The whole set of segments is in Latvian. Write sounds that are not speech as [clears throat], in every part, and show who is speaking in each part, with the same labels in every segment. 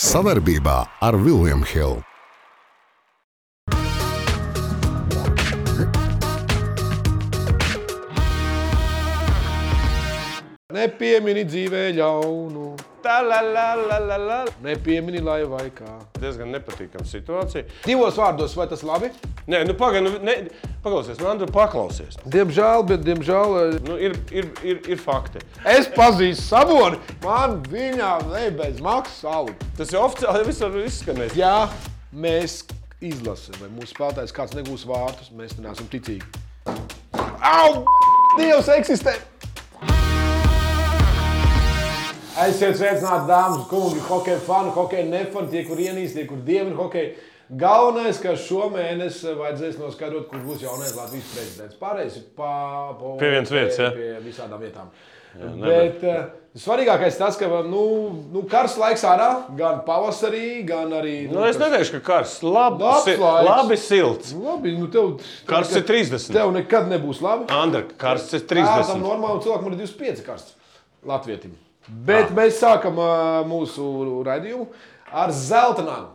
Speaker 1: Savarbībā ar Vilniem Hilu.
Speaker 2: Nepiemini dzīvē ļaunu,
Speaker 3: Tā la la la la la.
Speaker 2: nepiemini laivai kā.
Speaker 3: Diezgan nepatīkama situācija.
Speaker 2: Divos vārdos, vai tas labi?
Speaker 3: Nē, nu pagaidi, nu, ne- paklausies, man tur paklausies.
Speaker 2: Diemžēl, bet diemžēl eh,
Speaker 3: Nu, ir, ir, ir, ir fakti.
Speaker 2: es pazīstu saboni. Man viņa ne bez maksas alga.
Speaker 3: Tas jau oficiāli visur izskanēs.
Speaker 2: Ja mēs izlasām, vai mūsu spēlētājs kāds negūs vārtus, mēs tam neesam ticīgi. Au! Dievs eksistē! Aiziet, sveicināt, dāmas un kungi, hockey fani, hockey nefani, tie, kur ienīst, tie, kur dievina hockey. Galvenais, ka šomēnes vajadzēs noskaidrot, kurš būs jaunais Latvijas prezidents. Pārējais ir pa, pa,
Speaker 3: Pie vienas vietas, ja?
Speaker 2: pie visādām vietām. Jā, bet eh, svarīgākais tas, ka nu, nu, karsts laiks ārā, gan pavasarī, gan arī.
Speaker 3: Nu, es
Speaker 2: kas-
Speaker 3: neteikšu, ka karsts labi,
Speaker 2: Labs
Speaker 3: si
Speaker 2: laiks.
Speaker 3: labi silts.
Speaker 2: Labi, nu tev, tev
Speaker 3: Karsts ir
Speaker 2: nekad-
Speaker 3: 30.
Speaker 2: Tev nekad nebūs labi.
Speaker 3: Andra, karsts ir
Speaker 2: Kādam
Speaker 3: 30.
Speaker 2: normālam cilvēkam ir 25 karsts Latvijam. Bet ah. mēs sākam ā, mūsu raidījumu ar zelta naglu.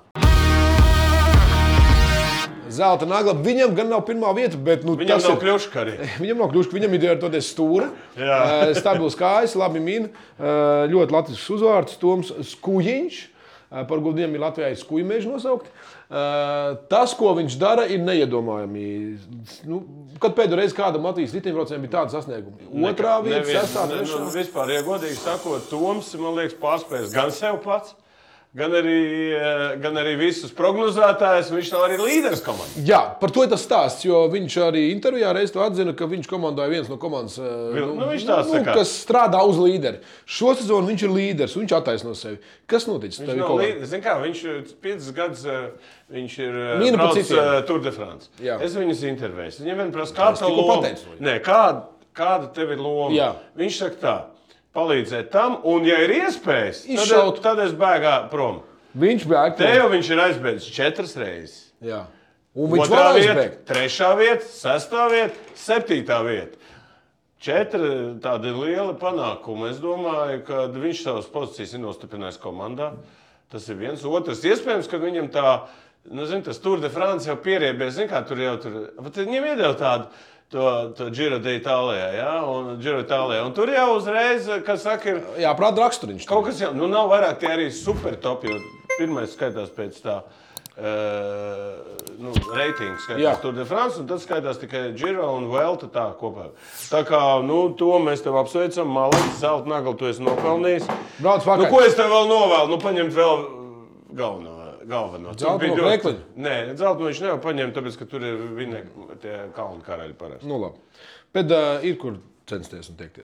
Speaker 2: Zelta nagla. Viņam gan nav pirmā vieta, bet nu,
Speaker 3: Viņam
Speaker 2: tas
Speaker 3: nav
Speaker 2: ir.
Speaker 3: kļuvuši karī.
Speaker 2: Viņam nav kļūst, viņam ir tāda stūra,
Speaker 3: Jā.
Speaker 2: [laughs] eh, stabils kājas, labi min, eh, ļoti latviešu uzvārds, Toms Skujiņš. eh, Par gudriem ir Latvijā skūjmeži nosaukt. Eh, Tas, ko viņš dara, ir neiedomājami. Nu, kad pēdējo reizi kādam Latvijas riteņbraucējam bija tāds sasniegums? Otrā vieta,
Speaker 3: Neviens-
Speaker 2: sestā,
Speaker 3: ne- nu,
Speaker 2: trešā.
Speaker 3: Vispār, ja godīgi sakot, Toms man liekas pārspējis gan sev pats, gan arī, eh, gan arī visus prognozētājus. Viņš nav arī līderis komandā.
Speaker 2: Jā, par to ir tas stāsts, jo viņš arī intervijā reiz to atzina, ka viņš komandā ir viens no komandas, eh,
Speaker 3: Nu, viņš tāds tā kā-
Speaker 2: kas strādā uz līderi. Šo sezonu viņš ir līderis, un viņš attaisno sevi. Kas noticis? Tev ir
Speaker 3: Viņš, nav
Speaker 2: kaut kā-
Speaker 3: līd- zini Nu, kā, viņš ir piecus gadus, eh, viņš ir eh,
Speaker 2: Mīna pa
Speaker 3: brauc,
Speaker 2: citiem.
Speaker 3: eh, Tour de France.
Speaker 2: Jā.
Speaker 3: Es viņus intervēju. Viņam vien prasa, kāda
Speaker 2: es
Speaker 3: tev
Speaker 2: tikko
Speaker 3: loma?
Speaker 2: pateicu, jā.
Speaker 3: Nē, kāda, kāda tev ir loma?
Speaker 2: Jā.
Speaker 3: Viņš saka tā, palīdzēt tam, un ja ir iespējas, tad,
Speaker 2: Izšaut.
Speaker 3: tad es bēgā prom.
Speaker 2: Viņš bija
Speaker 3: Te
Speaker 2: aktīvs.
Speaker 3: jau viņš ir aizbēdzis četras reizes.
Speaker 2: Jā. Un viņš
Speaker 3: Otrā
Speaker 2: var
Speaker 3: vieta,
Speaker 2: aizbēgt.
Speaker 3: trešā vieta, sestā vieta, septītā vieta. Četri tādi lieli panākumi. Es domāju, ka viņš savas pozīcijas ir nostiprinājis komandā. Tas ir viens. Otrs, iespējams, ka viņam tā, nu, zin, tas Tour de France jau pieriebies. Zin, kā tur jau tur, bet viņam iedeva tādu. To, to Giro d'Italijā, ja? un Giro d'Italijā. Un tur jau uzreiz, kas saka, ir
Speaker 2: Jā, prātā raksturiņš.
Speaker 3: Kaut kas jau nu, nav vairāk, tie arī super top. Pirmā skaitās pēc tā. Uh, nu, Reitings, kā
Speaker 2: Jā.
Speaker 3: jau tur bija Francija, un tas skaitās tikai Giro un Velta tā kopā. Tā kā nu, to mēs tev apsveicam, Maliks, zelta nagla, tu esi nopelnījis.
Speaker 2: Brauc pakaļ.
Speaker 3: Nu, ko es tev vēl novēlu? Nu, paņemt vēl galveno. galveno.
Speaker 2: Zeltno
Speaker 3: Tur bija
Speaker 2: krekliņu?
Speaker 3: Nē, zelta viņš nevar paņemt, tāpēc, ka tur ir viņa tie kalnu karaļi parasti.
Speaker 2: Nu, labi. Bet uh, ir kur censties un tiekties.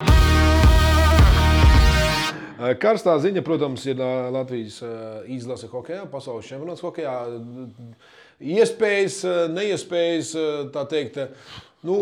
Speaker 2: Ā, Karstā ziņa, protams, ir ā, Latvijas ā, izlase hokeja, pasaules čempionāts hokeja. Iespējas, ā, neiespējas, ā, tā teikt. ā, Nu,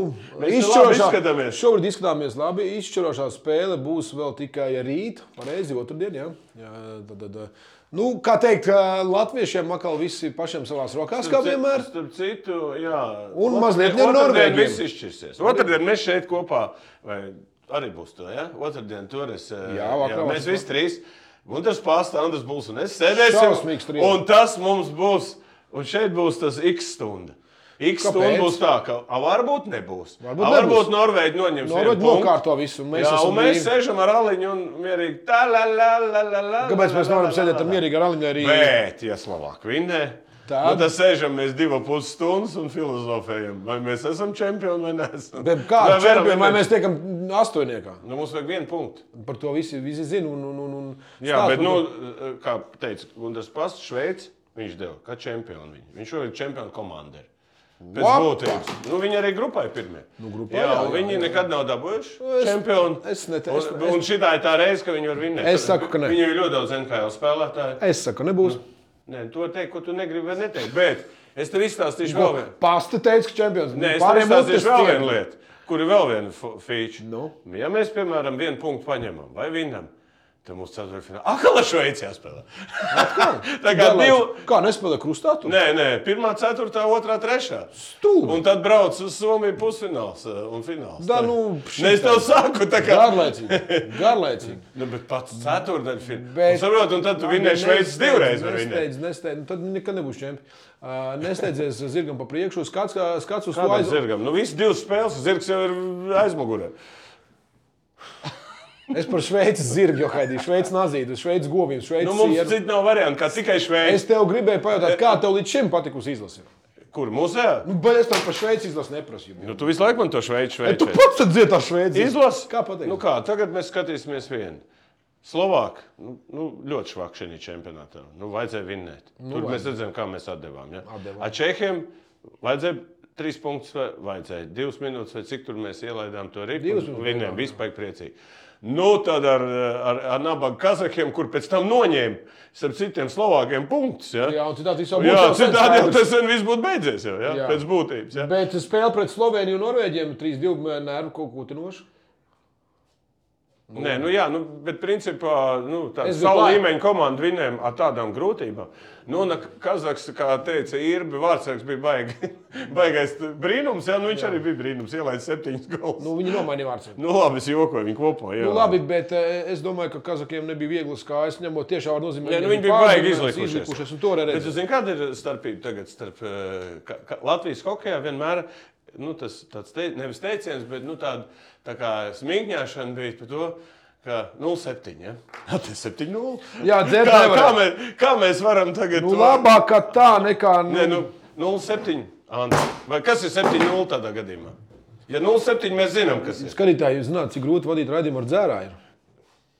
Speaker 3: Mēs
Speaker 2: izšķirošā-
Speaker 3: labi izskatāmies.
Speaker 2: Šobrīd izskatāmies labi. Izšķirošā spēle būs vēl tikai rīt, pareizi, otrdien. Jā. Jā, tad, tad, ā, nu, kā teikt, ā, latviešiem atkal viss ir pašiem savās rokās, kā vienmēr.
Speaker 3: Starp citu, jā.
Speaker 2: Un mazliet ne norvēģiem.
Speaker 3: Viss izšķirsies. Otradien mēs šeit kopā, vai arī būs tā, ja? Otradien tur es. eh,
Speaker 2: Jā, vakarā
Speaker 3: mēs
Speaker 2: vakar.
Speaker 3: visi trīs. Un tas pārstāv Andris Būs un es sēdēsim.
Speaker 2: Šausmīgs trio.
Speaker 3: Un tas mums būs, un šeit būs tas X stunda. X stunda
Speaker 2: Kāpēc?
Speaker 3: būs tā, ka a, varbūt nebūs.
Speaker 2: Varbūt nebūs.
Speaker 3: A, varbūt Norvēģi noņems.
Speaker 2: Norvēģi
Speaker 3: vienu punktu.
Speaker 2: nokārto visu, un mēs
Speaker 3: jā,
Speaker 2: esam
Speaker 3: un mēs
Speaker 2: mierīgi.
Speaker 3: sēžam ar aliņu un mierīgi. Tā, la, la, la, la, la,
Speaker 2: Kāpēc mēs
Speaker 3: la, la,
Speaker 2: nevaram
Speaker 3: la,
Speaker 2: sēdēt
Speaker 3: la,
Speaker 2: ar
Speaker 3: la.
Speaker 2: mierīgu aliņu arī?
Speaker 3: Bet, ja Slovākija vinnē,
Speaker 2: Tad?
Speaker 3: tad nu, tad sēžam mēs divas puses stundas un filozofējam, vai mēs esam čempioni vai neesam.
Speaker 2: Bet kā ar
Speaker 3: Vai varam
Speaker 2: čempionu, vai
Speaker 3: vienmēr-
Speaker 2: mēs tiekam astotniekā?
Speaker 3: Nu, mums vajag vienu punktu.
Speaker 2: Par to visi, visi zina. Un, un, un, un
Speaker 3: Jā,
Speaker 2: stāsta
Speaker 3: bet,
Speaker 2: par to.
Speaker 3: nu, kā teica Gunārs Pasts, Šveice, viņš deva, ka čempioni viņi. Viņš šogad ir čempionu komanda. Pēc
Speaker 2: Vapa!
Speaker 3: būtības. Nu, viņi arī grupai pirmie. Nu,
Speaker 2: grupā,
Speaker 3: jā,
Speaker 2: jā,
Speaker 3: un
Speaker 2: jā,
Speaker 3: viņi
Speaker 2: jā. Nu,
Speaker 3: nekad nav dabūjuši
Speaker 2: Es-
Speaker 3: čempionu.
Speaker 2: es ne- es-
Speaker 3: un, un šī ir tā reize, ka viņi var vinnēt.
Speaker 2: Es saku, ka ne.
Speaker 3: Viņiem ir ļoti daudz NHL spēlētāju.
Speaker 2: Es saku, nebūs.
Speaker 3: Nē, to teikt, ko tu negribi vai neteikt. Bet es tev izstāstīšu Nu, vēl vienu.
Speaker 2: Pasta teica, ka čempions
Speaker 3: Nē, es
Speaker 2: Pāriem
Speaker 3: domāju,
Speaker 2: mutes
Speaker 3: ka vēl
Speaker 2: tiem.
Speaker 3: viena lieta, kur ir vēl viena feča.
Speaker 2: Nu?
Speaker 3: Ja mēs, piemēram, vienu punktu paņemam vai vinnam, Te mums ceturtfinālā. Akala Šveicē spēlē. [laughs] Tā kā divi.
Speaker 2: Garlaicks. Kā nespēlē krustā? Tu?
Speaker 3: Nē, nē, pirmā, ceturtā, otrā, trešā.
Speaker 2: Stūri.
Speaker 3: Un tad brauc uz Somiju pusfināls eh, un fināls.
Speaker 2: Da, nu,
Speaker 3: Nē, es tev saku, tā kā.
Speaker 2: Garlaicīgi. Garlaicīgi.
Speaker 3: Nu, bet pats ceturdaļfināls.
Speaker 2: Bet-
Speaker 3: Bet... Saprot, un tad tu vinēji Šveices divreiz. vai ne?
Speaker 2: Nesteidz, nesteidz. Nu, Tad nekad nebūs čempions. Uh, nesteidzies zirgam pa priekšu. Skats, kā- skats uz to aiz...
Speaker 3: Kādam zirgam? Nu, visas divas spēles, zirgs jau ir aizmugurē.
Speaker 2: Es par Šveices zirgu jau haidīju. Šveices nazīdu, Šveices govīm,
Speaker 3: Nu,
Speaker 2: Šveices nu,
Speaker 3: mums
Speaker 2: sieru.
Speaker 3: citu nav variantu, kā tikai
Speaker 2: Es
Speaker 3: šveicis.
Speaker 2: tev gribēju pajautāt, kā tev līdz šim patikusi izlase?
Speaker 3: Kur mūsejā?
Speaker 2: Nu, bet es tev par Šveices izlasi neprasīju.
Speaker 3: Nu, tu visu laiku man to šveici šveici.
Speaker 2: Tu pats tad dziedi tā Šveices
Speaker 3: Izlasi,
Speaker 2: Kā pateikt?
Speaker 3: Nu, kā, tagad mēs skatīsimies vienu. Slovāki nu, nu, ļoti švakši šajā čempionātā. Nu, vajadzēja vinnēt. Nu, Tur mēs redzējām, kā mēs atdevām. Ja?
Speaker 2: Atdevām.
Speaker 3: Ar Čehiem vajadzēja trīs punktus, vai vajadzēja divas minūtes, vai cik tur mēs ielaidām to
Speaker 2: Divas
Speaker 3: rītu.
Speaker 2: minūtes
Speaker 3: Viņiem vispār priecīgi. Nu, tad ar, ar, ar nabaga kazahiem, kur pēc tam noņēma ar citiem slovākiem punktus. Ja?
Speaker 2: Jā, un citādi viss jau būtu.
Speaker 3: Jā,
Speaker 2: jau sen
Speaker 3: citādi jau
Speaker 2: skaidrs.
Speaker 3: tas sen viss būtu beidzies. Jau, ja?
Speaker 2: Jā.
Speaker 3: Pēc būtības. Ja?
Speaker 2: Bet spēle pret Sloveniju un Norvēģiem 3-2 nervu kaut ko tinošu.
Speaker 3: Nē, nu jā, nu, bet principā nu, tāda
Speaker 2: Es biju
Speaker 3: savu
Speaker 2: klāt.
Speaker 3: līmeņa komanda vinēm ar tādām grūtībām. Nu, un Kazaks, kā teica Irbi, Vārtsargs bija baigi, [laughs] baigais brīnums, jā, nu viņš jā. arī bija brīnums, ielaid septiņas gols.
Speaker 2: Nu,
Speaker 3: Nu,
Speaker 2: viņi nomainīja vārdu.
Speaker 3: nu labi, es jokoju, viņi kopā, jā.
Speaker 2: Nu, labi, bet eh, es domāju, ka Kazakiem nebija viegli skājas, ņemot tiešām var nozīmēt.
Speaker 3: Nē, nu,
Speaker 2: ka
Speaker 3: viņi bija baigi
Speaker 2: pārdomājuši,
Speaker 3: izlikušies.
Speaker 2: izlikušies un to arī
Speaker 3: Bet tu
Speaker 2: redzēja.
Speaker 3: zini, kāda ir starpība tagad starp eh, ka, ka Latvijas hokeja vienmēr. Nu, tas tāds te, nevis teiciens, bet nu, tāda tā kā smīgņāšana bija par to, ka 0,7. Ja? [laughs] Jā, tas ir 7,0.
Speaker 2: Jā, dzert
Speaker 3: kā, kā,
Speaker 2: nevarēja.
Speaker 3: mēs, kā mēs varam tagad
Speaker 2: Nu, labāk, ka tā nekā.
Speaker 3: Nē, nu, 0,7. Anta. Vai kas ir 7,0 tādā gadījumā? Ja 0,7 mēs zinām, kas ir.
Speaker 2: Skatītāji, jūs zināt, cik grūti vadīt raidījumu ar dzērāju.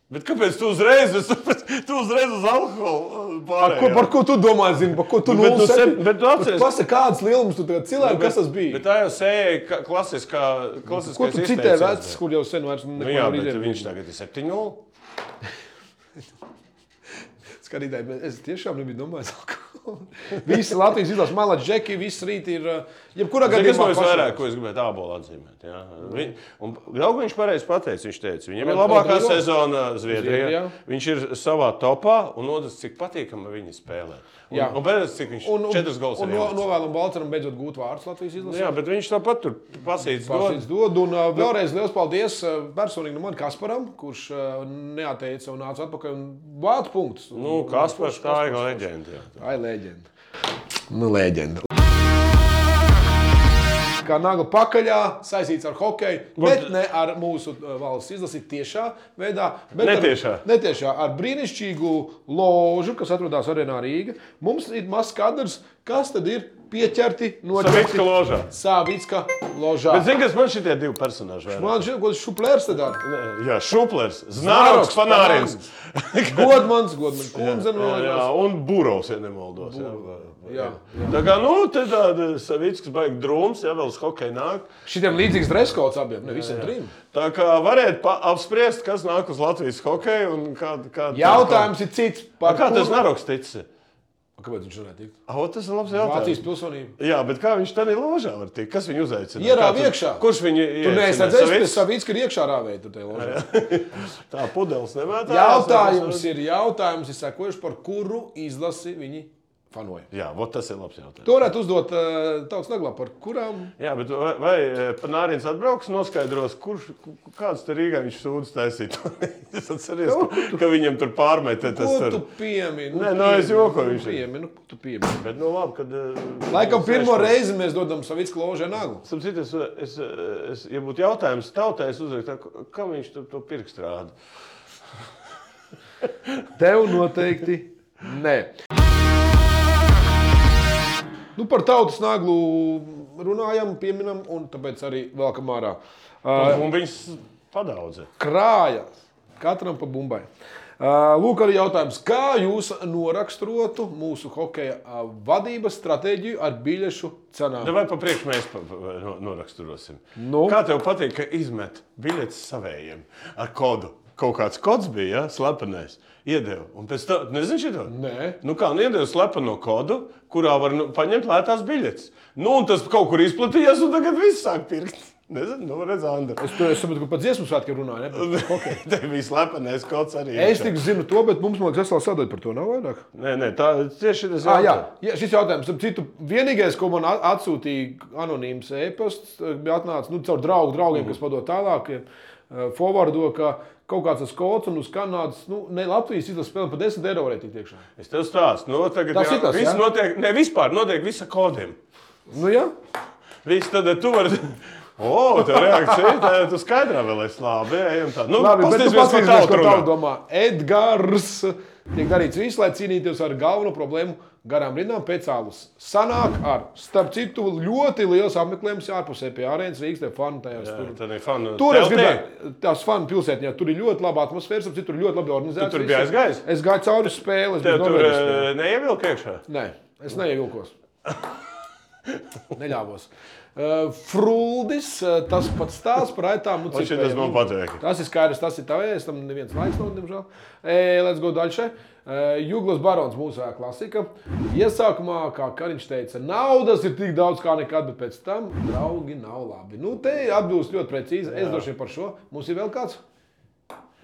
Speaker 3: Bet kāpēc tu uzreiz, es sapratu, tu uzreiz uz alkoholu uh,
Speaker 2: Par ko,
Speaker 3: pārējai?
Speaker 2: par ko tu domā, zini, par ko tu
Speaker 3: Nu, bet tu
Speaker 2: nulli sepi-
Speaker 3: sep- bet tu atceries- Nu,
Speaker 2: Pasaka, kāds lielums tu tagad cilvēki, kas tas bija?
Speaker 3: Bet tā jau sēja klasiskā, klasiskā
Speaker 2: Ko tu citē vecs, kur jau sen vairs
Speaker 3: Nu, jā,
Speaker 2: neko
Speaker 3: bet
Speaker 2: nevar
Speaker 3: viņš
Speaker 2: izdarīt?
Speaker 3: tagad ir 7,0.
Speaker 2: Skatītāji, bet es tiešām nebiju domājis. alkoholu. [laughs] Visi Latvijas izlases malā, džeki, viss rīt ir. eh, Jebkurā
Speaker 3: Tas
Speaker 2: gadījumā
Speaker 3: bija
Speaker 2: pašam-
Speaker 3: vairāk, ko es gribēju tādu atzīmēt. Jā. Vi- un Draugu viņš pareizi pateica. Viņš teica, viņam ir
Speaker 2: Rod-
Speaker 3: labākā
Speaker 2: Rodrigo?
Speaker 3: sezona Zviedrijā.
Speaker 2: Zviedrijā.
Speaker 3: Viņš ir savā topā un otrs, cik patīkami viņi spēlē. Un,
Speaker 2: Jā.
Speaker 3: un pēc tam, cik viņš
Speaker 2: Un, un,
Speaker 3: četras gols ir
Speaker 2: un no,
Speaker 3: ielicis.
Speaker 2: novēlam Baltaram beidzot gūt vārdus Latvijas izlasē.
Speaker 3: Nu Jā, bet viņš tāpat tur pasīdz
Speaker 2: Pārsīdz
Speaker 3: dod. Nu-
Speaker 2: dod. Un uh, vēlreiz liels paldies uh, personīgi no manis Kasparam, kurš uh, neateica un nāca atpakaļ un vāca punktus.
Speaker 3: Nu, Kaspars, tā ir leģenda. jā.
Speaker 2: Ai, leģenda. Nu, leģenda. Kā nagla pakaļā, saistīts ar hokeju, bet ne ar mūsu uh, valsts izlasi tiešā veidā. bet ar-
Speaker 3: Netiešā.
Speaker 2: Netiešā ar brīnišķīgu ložu, kas atrodas Arēnā Rīgā. Mums ir mazs kadrs, kas tad ir pieķerti no
Speaker 3: Savicka ložā.
Speaker 2: Savicka ložā.
Speaker 3: Bet zini, kas man šitie divi personāži vēl?
Speaker 2: Man šķiet, ka tas šuplērs te dara.
Speaker 3: Jā, Šuplers, Znāroks, Fanārins.
Speaker 2: Godmans, Godmans, kundze no
Speaker 3: Jā, jā, un Burovs, ja nemaldos. Jā.
Speaker 2: Jā.
Speaker 3: Tā kā, nu, te tāda savickas baigi drūms, ja vēl uz hokeju nāk.
Speaker 2: Šitiem līdzīgs dreskots abiem, ne visiem trim.
Speaker 3: Tā kā varētu pa- apspriest, kas nāk uz Latvijas hokeju un kāda. Kā,
Speaker 2: Jautājums ir cits par
Speaker 3: Kā tas
Speaker 2: kuru-
Speaker 3: naroks ticis?
Speaker 2: Kāpēc viņš nevar tikt?
Speaker 3: O, tas ir labs jautājums.
Speaker 2: Vācijas pilsonība.
Speaker 3: Jā, bet kā viņš tādā ložā var tikt? Kas viņu uzaicina?
Speaker 2: Ierāva
Speaker 3: Kā tu-
Speaker 2: iekšā.
Speaker 3: Kurš viņu
Speaker 2: Tu neesi
Speaker 3: ieiecinās?
Speaker 2: redzējis, ka
Speaker 3: Savicks?
Speaker 2: Savicka ir iekšā rāvēja tur tajā ložā.
Speaker 3: Tā pudeles nevētā.
Speaker 2: Jautājums ir, jautājums ir sekojuši, par kuru izlasi viņi fanoja.
Speaker 3: Jā, vot tas ir labs jautājums.
Speaker 2: To varētu uzdot uh, tautas naglā, par kurām
Speaker 3: Jā, bet vai, vai eh, Panārins atbrauks, noskaidros, kurš, ku- ku- kāds tur Rīgā viņš sūdzas taisīt? [laughs] es atceros, ka, ka viņam tur pārmetē tas.
Speaker 2: Nu, ko tu
Speaker 3: Tur.
Speaker 2: piemini?
Speaker 3: Nē, nu, es jokoju, viņš ir.
Speaker 2: Piemini, ko tu piemini?
Speaker 3: Bet, nu, labi, kad, eh,
Speaker 2: Laikam
Speaker 3: sēž
Speaker 2: pirmo
Speaker 3: tur.
Speaker 2: reizi mēs dodam Savicka ložai naglu.
Speaker 3: Starp citu, es, es, es, ja būtu jautājums tautai, es uzraktu, kam viņš tur to pirkstu rāda.
Speaker 2: Tev noteikti nē. Nu, par tautas naglu runājam, pieminam, un tāpēc arī vēlkam ārā. Uh,
Speaker 3: Un viņš padaudzē.
Speaker 2: Krājas katram pa bumbai. Uh, Lūk, arī jautājums, kā jūs noraksturotu mūsu hokeja uh, vadības stratēģiju ar biļešu cenām?
Speaker 3: Vai pa priekšu mēs pa, pa, no, noraksturosim?
Speaker 2: Nu?
Speaker 3: Kā tev patīk, ka izmet biļetes savējiem ar kodu? Kaut kāds kods bija, ja? slepenais. Iedeva. Un pēc tam, nezinu, šito.
Speaker 2: Nē.
Speaker 3: Nu kā, nu iedeva slepeno kodu, kurā var nu, paņemt lētās biļetes. Nu, un tas kaut kur izplatījās, un tagad viss sāk pirkt. Nezinu, nu, redz, Andra.
Speaker 2: Es, to- es saprotu, ka pat dziesmu svētkiem runāju. ne?
Speaker 3: Okay. [laughs] Tev bija slepenais kods arī.
Speaker 2: Es tik zinu to, bet mums, man liekas, vesela sadaļa par to nav vairāk.
Speaker 3: Nē, nē, tā tieši tas
Speaker 2: Ah, jā,
Speaker 3: jautājums.
Speaker 2: jā, šis jautājums, ap citu, vienīgais, ko man a- atsūtīja anonīms e-pasts, eh, bija atnācis nu, caur draugu, draugiem, mm. kas padod tālāk, eh, forwardo, ka kaut kāds tas kods un uz Kanādas, nu, ne Latvijas izlases spēlē par 10 eiro varētu tikt iekšā.
Speaker 3: Es tev stāstu. Nu, tagad
Speaker 2: Tas ir tas,
Speaker 3: viss
Speaker 2: jā?
Speaker 3: notiek, ne vispār notiek visa kodiem.
Speaker 2: Nu, jā,
Speaker 3: Viss tad tu vari. O, tā reakcija, tā tu skaidrā vēl esi labi. Ejam tā. Nu,
Speaker 2: labi, bet tu
Speaker 3: paskatīsimies, ko
Speaker 2: paskatīsies, ko
Speaker 3: tauta
Speaker 2: tauta
Speaker 3: runā.
Speaker 2: domā. Edgars tiek darīts viss, lai cīnītos ar galveno problēmu garām rindām pēc alus. Sanāk ar, starp citu, ļoti liels apmeklējums E ārpusē pie ārēnas Rīgas, te fanu tajās tur.
Speaker 3: Jā, Nu, tad ir fanu
Speaker 2: Tur es
Speaker 3: teltē.
Speaker 2: gribēju, tās fanu pilsētā, tur ir ļoti laba atmosfēra, ap citu, tur ir ļoti labi organizēta.
Speaker 3: Tu tur biji aizgājis?
Speaker 2: Es gāju cauri spēlei.
Speaker 3: Tev tur eh, neievilka iekšā.
Speaker 2: Nē, es neievilkos. Neļāvos. Uh, Fruldis, uh, tas pats stāsts par aitām. un
Speaker 3: Un šī
Speaker 2: cipējiem.
Speaker 3: tas man patīk.
Speaker 2: [laughs] Tas ir skaidrs, tas ir tavs. Tam neviens laiks nav, diemžēl. E, let's go daļai. E, Juglas barons mūsu ā, klasika. Iesākumā, kā Kariņš teica, naudas ir tik daudz kā nekad, bet pēc tam draugi nav labi. Nu, te atbilst ļoti precīzi. Es droši vien par šo. Mums ir vēl kāds.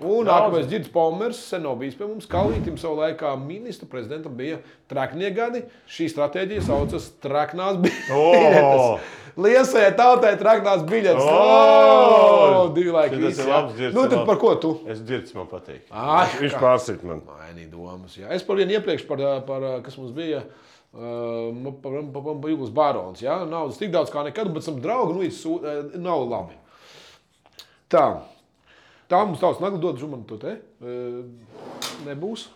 Speaker 2: Un nākamais Girds Palmers, sen nav bijis pie mums. Kalītam savā laikā ministra prezidentam bija traknie gadi. Šī stratēģija saucas traknās
Speaker 3: O!
Speaker 2: biļetes. Liesai tautai traknās biļetes.
Speaker 3: O!
Speaker 2: O, Divi laiki.
Speaker 3: Šis tas
Speaker 2: visi,
Speaker 3: ir
Speaker 2: jā.
Speaker 3: labs dzirdes,
Speaker 2: Nu,
Speaker 3: ir
Speaker 2: tad
Speaker 3: labs.
Speaker 2: par ko tu?
Speaker 3: Es dzirdu, man patīk.
Speaker 2: Ai,
Speaker 3: Viņš- Viņš
Speaker 2: Ah, kā.
Speaker 3: pārsit man.
Speaker 2: Mainīja domas. Jā. Es par vienu iepriekš, par, ā, par ā, kas mums bija. eh, nu, Jūgas barons. Jā, naudas tik daudz kā nekad, bet tam draugi nu, ir sū- ā, nav labi. Tā. Tā mums tāds nagla dod, žuman, to te. ā, Nebūs.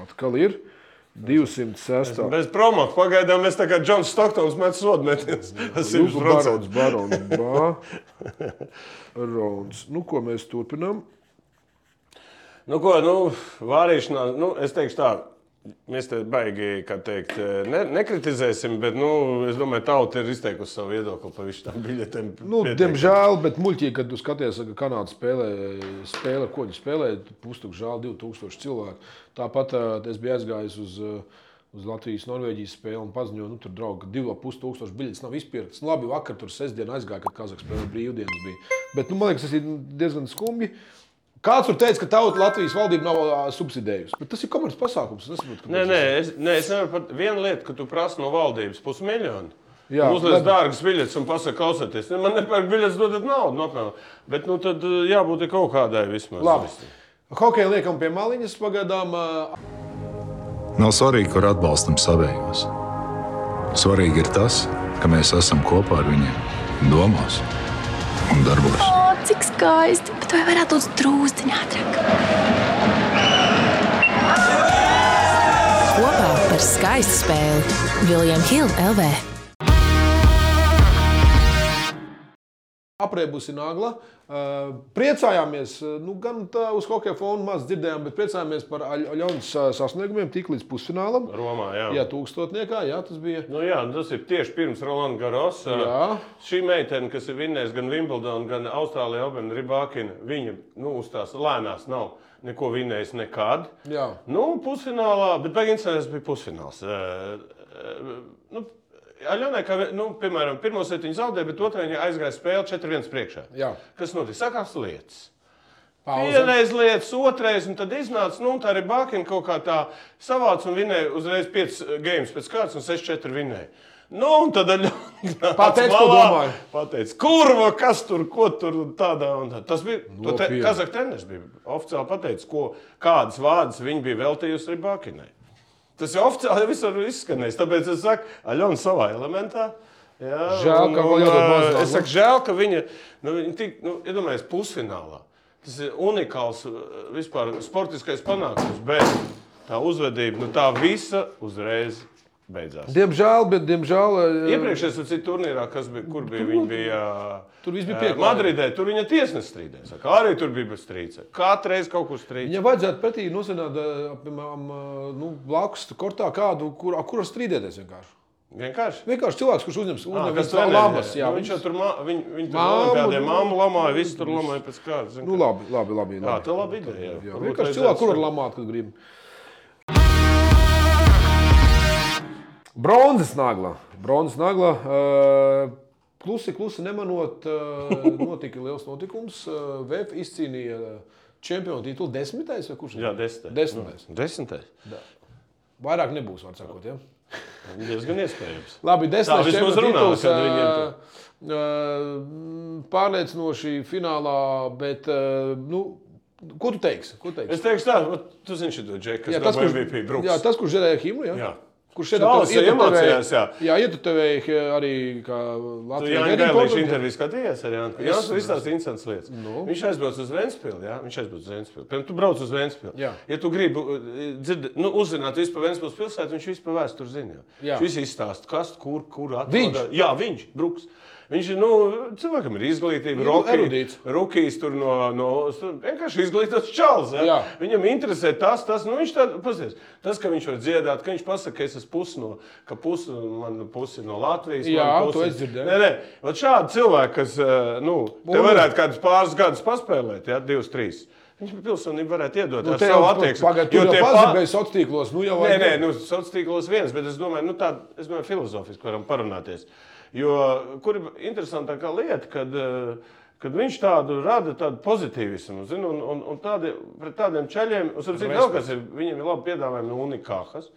Speaker 2: Atkal ir 206.
Speaker 3: Bez promo. Pagaidām mēs tā kā Džons Stoktons met sodmeties. Tas ir
Speaker 2: Jūsu barons,
Speaker 3: procents.
Speaker 2: barons, barons. Nu, ko mēs turpinām?
Speaker 3: Nu, ko, nu, vārīšanās, nu, es teikšu tā. Mēs te baigi, kā teikt, eh, ne, nekritizēsim, bet, nu, es domāju, tauta ir izteikusi savu viedokli par visu tām biļetēm.
Speaker 2: Nu,
Speaker 3: Pietiek.
Speaker 2: diemžēl, bet muļķīgi, kad tu skaties, ka Kanāda spēlē, spēlē ko viņi spēlē, pustukšs žēl 2000 cilvēku. Tāpat ā, es biju aizgājis uz, ā, uz Latvijas-Norvēģijas spēli un paziņoju, nu, tur draugi, ka 2500 biļetes nav izpirktas. Nu, labi, vakar tur sestdiena aizgāja, kad Kazakstā spēlēja brīvdienas. Bija. Bet, nu, man liekas, tas ir diezgan skumji. Kāds tur teica, ka tauta Latvijas valdība nav ā, subsidējusi? Bet tas ir komerces pasākums. Es nesaprotu,
Speaker 3: Nē,
Speaker 2: kāpēc
Speaker 3: nē, es, nē, es nevaru pat vienu lietu, ka tu prasi no valdības pusmiljonu.
Speaker 2: Jā,
Speaker 3: Uzliek
Speaker 2: labi.
Speaker 3: dārgas biļetes un pasaka, klausieties, ne, man nepērk biļetes, dodat naudu, nopelnīt. Bet, nu, tad eh, jābūt ir kaut kādai vismaz.
Speaker 2: Labi. Hokeju liekam pie maliņas eh, pagaidām. ā,
Speaker 4: Nav svarīgi, kur atbalstam savējos. Svarīgi ir tas, ka mēs esam kopā ar viņiem, domās un darbos.
Speaker 5: O, cik skaisti! Bet vai varētu būt drūzāk, ātrāk?
Speaker 6: Kopā par skaistu spēli Viljams Hilde LV.
Speaker 2: Apreibusi nagla. Uh, Priecājāmies, uh, nu, gan tā uz hokeja fona maz dzirdējām, bet priecājāmies par Aļonas sasniegumiem tik līdz pusfinālam.
Speaker 3: Romā, jā.
Speaker 2: Jā, tūkstotniekā, jā, tas bija.
Speaker 3: Nu, jā, tas ir tieši pirms eh, Rolanda Garosa.
Speaker 2: Jā.
Speaker 3: Šī meitene, kas ir vinnējusi gan Wimbledonu, gan Austrālijā, abiem Rībākina, viņa nu, uz tās lēnās nav neko vinnējusi nekad.
Speaker 2: Jā.
Speaker 3: Nu, pusfinālā, bet beigās bija pusfināls. Eh, eh, Nu, Aļonai, kā, vi- nu, piemēram, pirmo sēdi viņa zaudēja, bet otrā viņa aizgāja spēle 4-1 priekšā.
Speaker 2: Jā.
Speaker 3: Kas notic? Sakās lietas.
Speaker 2: Pauze.
Speaker 3: Vienreiz lietas, otrais, un tad iznāca, nu, tā arī Bāķina kaut kā tā savāca un vinēja uzreiz 5 games pēc kārtas un 6-4 vinēja. Nu, un tad
Speaker 2: Pateic, ko domāju.
Speaker 3: Pateic, kurva, kas tur, ko tur un tādā un tā. Tas bija, to te,
Speaker 2: Nopietni.
Speaker 3: Kazak treneris bija oficiāli pateicis, ko, kādas vārdas viņi bija veltījusi arī Bāķinai. Tas ir oficiāli visur izskanējis, tāpēc es saku, Aļona savā elementā. Jā,
Speaker 2: Žēl, ka vēl jādod
Speaker 3: ā,
Speaker 2: mazāk.
Speaker 3: Es saku, žēl, ka viņa, nu, viņa tik, nu, iedomājies, pusfinālā. Tas ir unikāls uh, vispār sportiskais panākums, bet tā uzvedība, nu, tā visa uzreiz beidzās.
Speaker 2: Diemžēl, bet diemžēl. eh, ā,
Speaker 3: Iepriekšējā sacīja turnīrā, kas bija, kur bija, viņa bija. ā,
Speaker 2: Tur viss bija
Speaker 3: ā,
Speaker 2: pieklājīgi.
Speaker 3: Madridē, tur viņa tiesnes strīdēja. saka, Arī tur bija bez strīda. Katru reizi kaut kur strīdēja.
Speaker 2: Ja vajadzētu pretī nosināt, ā, piemēram, ā, nu, blakus kortā kādu, kur, ar kuru strīdēties vienkārši.
Speaker 3: Vienkārši.
Speaker 2: Vienkārši cilvēks, kurš uzņems
Speaker 3: Ā,
Speaker 2: uzņems
Speaker 3: Ah, treneri,
Speaker 2: lamas.
Speaker 3: jā.
Speaker 2: Jā,
Speaker 3: Nu, viņš jau tur
Speaker 2: Māmu,
Speaker 3: mākslinieci,
Speaker 2: nu,
Speaker 3: māmu lamāja, viss tur lamāja pēc kārtas.
Speaker 2: Nu, labi, labi, labi,
Speaker 3: Jā,
Speaker 2: labi.
Speaker 3: tā ir laba ideja.
Speaker 2: Jā, vienkārši cilvēku, kur var lamāt, kad grib. Bronzas nagla. Bronzas nagla. Uh, Klusi, klusi nemanot, eh, notika liels notikums. Eh, VF izcīnīja eh, čempionu titulu desmitais vai kurš?
Speaker 3: Jā, desmitais. Mm.
Speaker 2: Desmitais.
Speaker 3: Desmitais.
Speaker 2: Vairāk nebūs, var sakot. Ja?
Speaker 3: Diezgan iespējams.
Speaker 2: Labi, desmitais
Speaker 3: vismaz
Speaker 2: čempionu
Speaker 3: runā,
Speaker 2: tituls.
Speaker 3: kad viņi
Speaker 2: eh,
Speaker 3: ņem
Speaker 2: eh, Pārliecinoši finālā, bet eh, nu, ko tu teiksi? Ko tu teiksi?
Speaker 3: Es teikšu, tā, vat tu zini, šo džeku, kas
Speaker 2: Jā,
Speaker 3: ir
Speaker 2: tas, kurš
Speaker 3: MVP brūks.
Speaker 2: Jā, tas, kurš dzirdēja himnu. Jā.
Speaker 3: Jā.
Speaker 2: Kurš šeit
Speaker 3: Čalis iemācījās, jā.
Speaker 2: Jā, ietekmēja arī kā
Speaker 3: Tu
Speaker 2: Latvijas
Speaker 3: Jānis
Speaker 2: mediju
Speaker 3: Gavriļs
Speaker 2: programmu.
Speaker 3: interviju skatījies ar Jānu. Jā, tas visās interesants lietas.
Speaker 2: Nu.
Speaker 3: Viņš aizbrauc uz Ventspili, jā, viņš aizbrauc uz Ventspili. Piemēram, tu brauc uz Ventspili.
Speaker 2: Jā.
Speaker 3: Ja tu gribi uh, dzird, nu, uzzināt visu par Ventspils pilsētu, viņš visu par vēsturi zina.
Speaker 2: Jā.
Speaker 3: Viņš visu izstāsta, kas, kur, kur
Speaker 2: Viņš?
Speaker 3: atrodas. Jā, viņš, Bruks. Viņš ir, nu, cilvēkam ir izglītība,
Speaker 2: Ir erudīts.
Speaker 3: rokīs, rukīs tur no, no tur vienkārši izglītots čals. jā.
Speaker 2: Jā.
Speaker 3: Viņam interesē tas, tas, nu, viņš tā, pazies, tas, ka viņš var dziedāt, ka viņš pasaka, ka es esmu pusi no, ka pusi man pusi no Latvijas.
Speaker 2: Jā,
Speaker 3: man
Speaker 2: to
Speaker 3: pusi-
Speaker 2: es dzirdēju.
Speaker 3: Nē, nē, Vat šādi cilvēki, kas eh, nu, te
Speaker 2: Un-
Speaker 3: varētu kādus pāris gadus paspēlēt, ja, divus, trīs. Viņš pilsonību varētu iedot
Speaker 2: Nu,
Speaker 3: ar
Speaker 2: te
Speaker 3: savu
Speaker 2: jau
Speaker 3: attieksmi.
Speaker 2: pagaid, tur
Speaker 3: jo
Speaker 2: jau
Speaker 3: tie pa-
Speaker 2: pazudēja sociālos tīklos. Nu, jau
Speaker 3: Nē,
Speaker 2: vajag-
Speaker 3: nē, nu, sociālās tīklos viens, bet es domāju, nu, tā, es domāju filozofiski varam parunāties. Jo kur ir interesantākā lieta, kad, eh, kad viņš tādu rada tādu pozitīvismu, zinu, un, un, un tādi, pret tādiem ceļiem, un sapratu, vēl kas ir, viņiem ir labi piedāvājumi no unikāhas.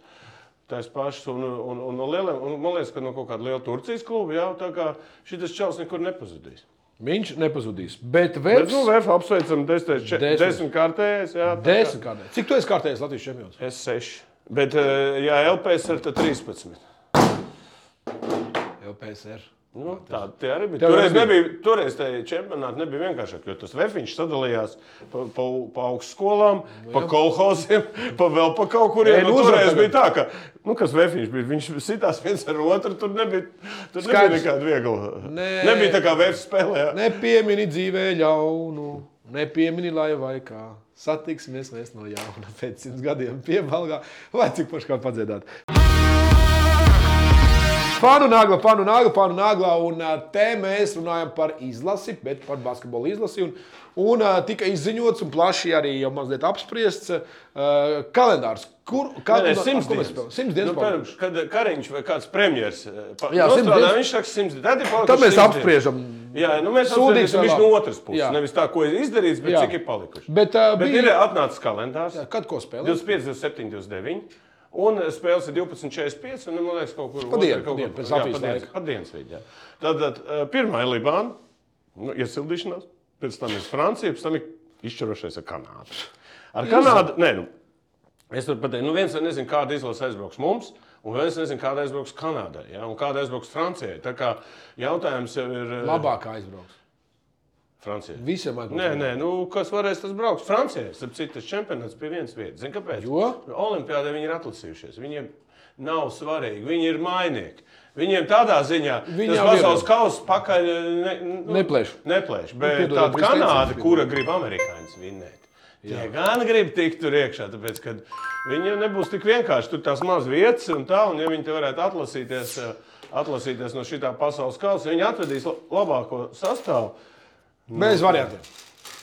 Speaker 3: Tās pašas, un, un, un, no lieliem, un man liekas, ka no kaut kāda liela Turcijas kluba jau tā kā šis čels nekur nepazudīs.
Speaker 2: Viņš nepazudīs. Bet
Speaker 3: Bet, nu,
Speaker 2: vēl
Speaker 3: VF apsveicam, desmit, čet,
Speaker 2: Desmit.
Speaker 3: desmit kārtējais. Jā, tā kā-
Speaker 2: desmit kārtē. Cik tu esi kārtējis Latvijas čempions?
Speaker 3: Es seši. Bet, eh, ja LPS ir, tad 13.
Speaker 2: LPSR.
Speaker 3: Nu, tā tie arī bija.
Speaker 2: Tev
Speaker 3: Toreiz,
Speaker 2: nebija.
Speaker 3: nebija, toreiz tajā čempionātā nebija vienkāršāk, jo tas vefiņš sadalījās pa, pa, pa augstskolām, pa kolhoziem, [laughs] pa vēl pa kaut
Speaker 2: Ei,
Speaker 3: kuriem. Nu,
Speaker 2: nu, uzvar
Speaker 3: toreiz
Speaker 2: tagad.
Speaker 3: bija tā, ka nu, kas vefiņš bija, viņš sitās viens ar otru, tur nebija, tur nebija
Speaker 2: Skaidrs.
Speaker 3: nekāda viegla.
Speaker 2: Nē.
Speaker 3: Nebija tā kā vefs spēlē. jā.
Speaker 2: Nepiemini dzīvē ļaunu, nepiemini laivā kā. Satiksimies mēs no jauna [laughs] pēc simts gadiem piebalgā, vai cik paši kā padziedāt. Pānu nāga, pānu nāga, pānu nāga. Un ā, te mēs runājam par izlasi, bet par basketbolu izlasi. Un, un ā, tika izziņots un plaši arī jau mazliet apspriests ā, kalendārs. Kur
Speaker 3: Nē,
Speaker 2: kādu
Speaker 3: nē, simts dienas.
Speaker 2: Simts dienas.
Speaker 3: Nu,
Speaker 2: Nu,
Speaker 3: piemēram, kad Kariņš vai kāds premjers
Speaker 2: Jā, simts
Speaker 3: strādā,
Speaker 2: dienas.
Speaker 3: viņš saka, simts dienas. Tad ir palikuši
Speaker 2: Tad mēs
Speaker 3: simts
Speaker 2: apspriežam.
Speaker 3: dienas. Jā, nu mēs
Speaker 2: Sūdīt
Speaker 3: apspriežam
Speaker 2: vai
Speaker 3: viņš
Speaker 2: labi?
Speaker 3: no otras puses.
Speaker 2: Jā.
Speaker 3: Nevis tā, ko ir izdarīts, bet
Speaker 2: Jā.
Speaker 3: cik ir palikuši.
Speaker 2: Bet, uh,
Speaker 3: Bet
Speaker 2: bija,
Speaker 3: ir atnācis kalendārs.
Speaker 2: kad ko spēlēja?
Speaker 3: 25, 27, 29. Un spēles ir 12, 45. Un, nu, man liekas, kaut kur
Speaker 2: Pa dienu,
Speaker 3: otrā- kaut
Speaker 2: pa dienu,
Speaker 3: kur-
Speaker 2: pēc
Speaker 3: jā,
Speaker 2: Latvijas
Speaker 3: pa dienas-
Speaker 2: laika.
Speaker 3: Pa dienas vidi, jā. Tātad eh, pirmā ir Libāna, nu, iesildīšanās, pēc tam ir Francija, pēc tam ir izšķirošais ar Kanādu. Ar Kanādu, nē, nu, es varu pateikt, nu viens nezinu, kāda izlase aizbrauks mums. Un viens nezinu, kāda aizbrauks Kanādai, ja? un kāda aizbrauks Francijai. Tā kā jautājums jau ir. eh,
Speaker 2: Labāk aizbrauks.
Speaker 3: Francijai.
Speaker 2: Visiem aizbraukt.
Speaker 3: Nē, nē, nu, kas varēs, tas brauks. Francijai, starp citu, tas čempionāts pie vienas vietas. Zini, kāpēc?
Speaker 2: Jo?
Speaker 3: Olimpiādē viņi ir atlasījušies. Viņiem nav svarīgi, viņi ir mainieki. Viņiem tādā ziņā
Speaker 2: Viņi
Speaker 3: tas
Speaker 2: jau
Speaker 3: pasaules
Speaker 2: ierodas.
Speaker 3: kausa pakaļ ne, nu,
Speaker 2: Neplēš. Nu,
Speaker 3: Neplēš. Bet
Speaker 2: piedod,
Speaker 3: tāda
Speaker 2: bez
Speaker 3: Kanāda,
Speaker 2: teiciens,
Speaker 3: kura grib amerikāņus vinnēt. Tie gan grib tikt tur iekšā, tāpēc, ka viņiem nebūs tik vienkārši. Tur tās maz vietas un tā, un ja viņi te varētu atlasīties, eh, atlasīties no šitā pasaules kausa, viņi atvedīs la- labāko sastāvu. nu,
Speaker 2: Bez variantiem.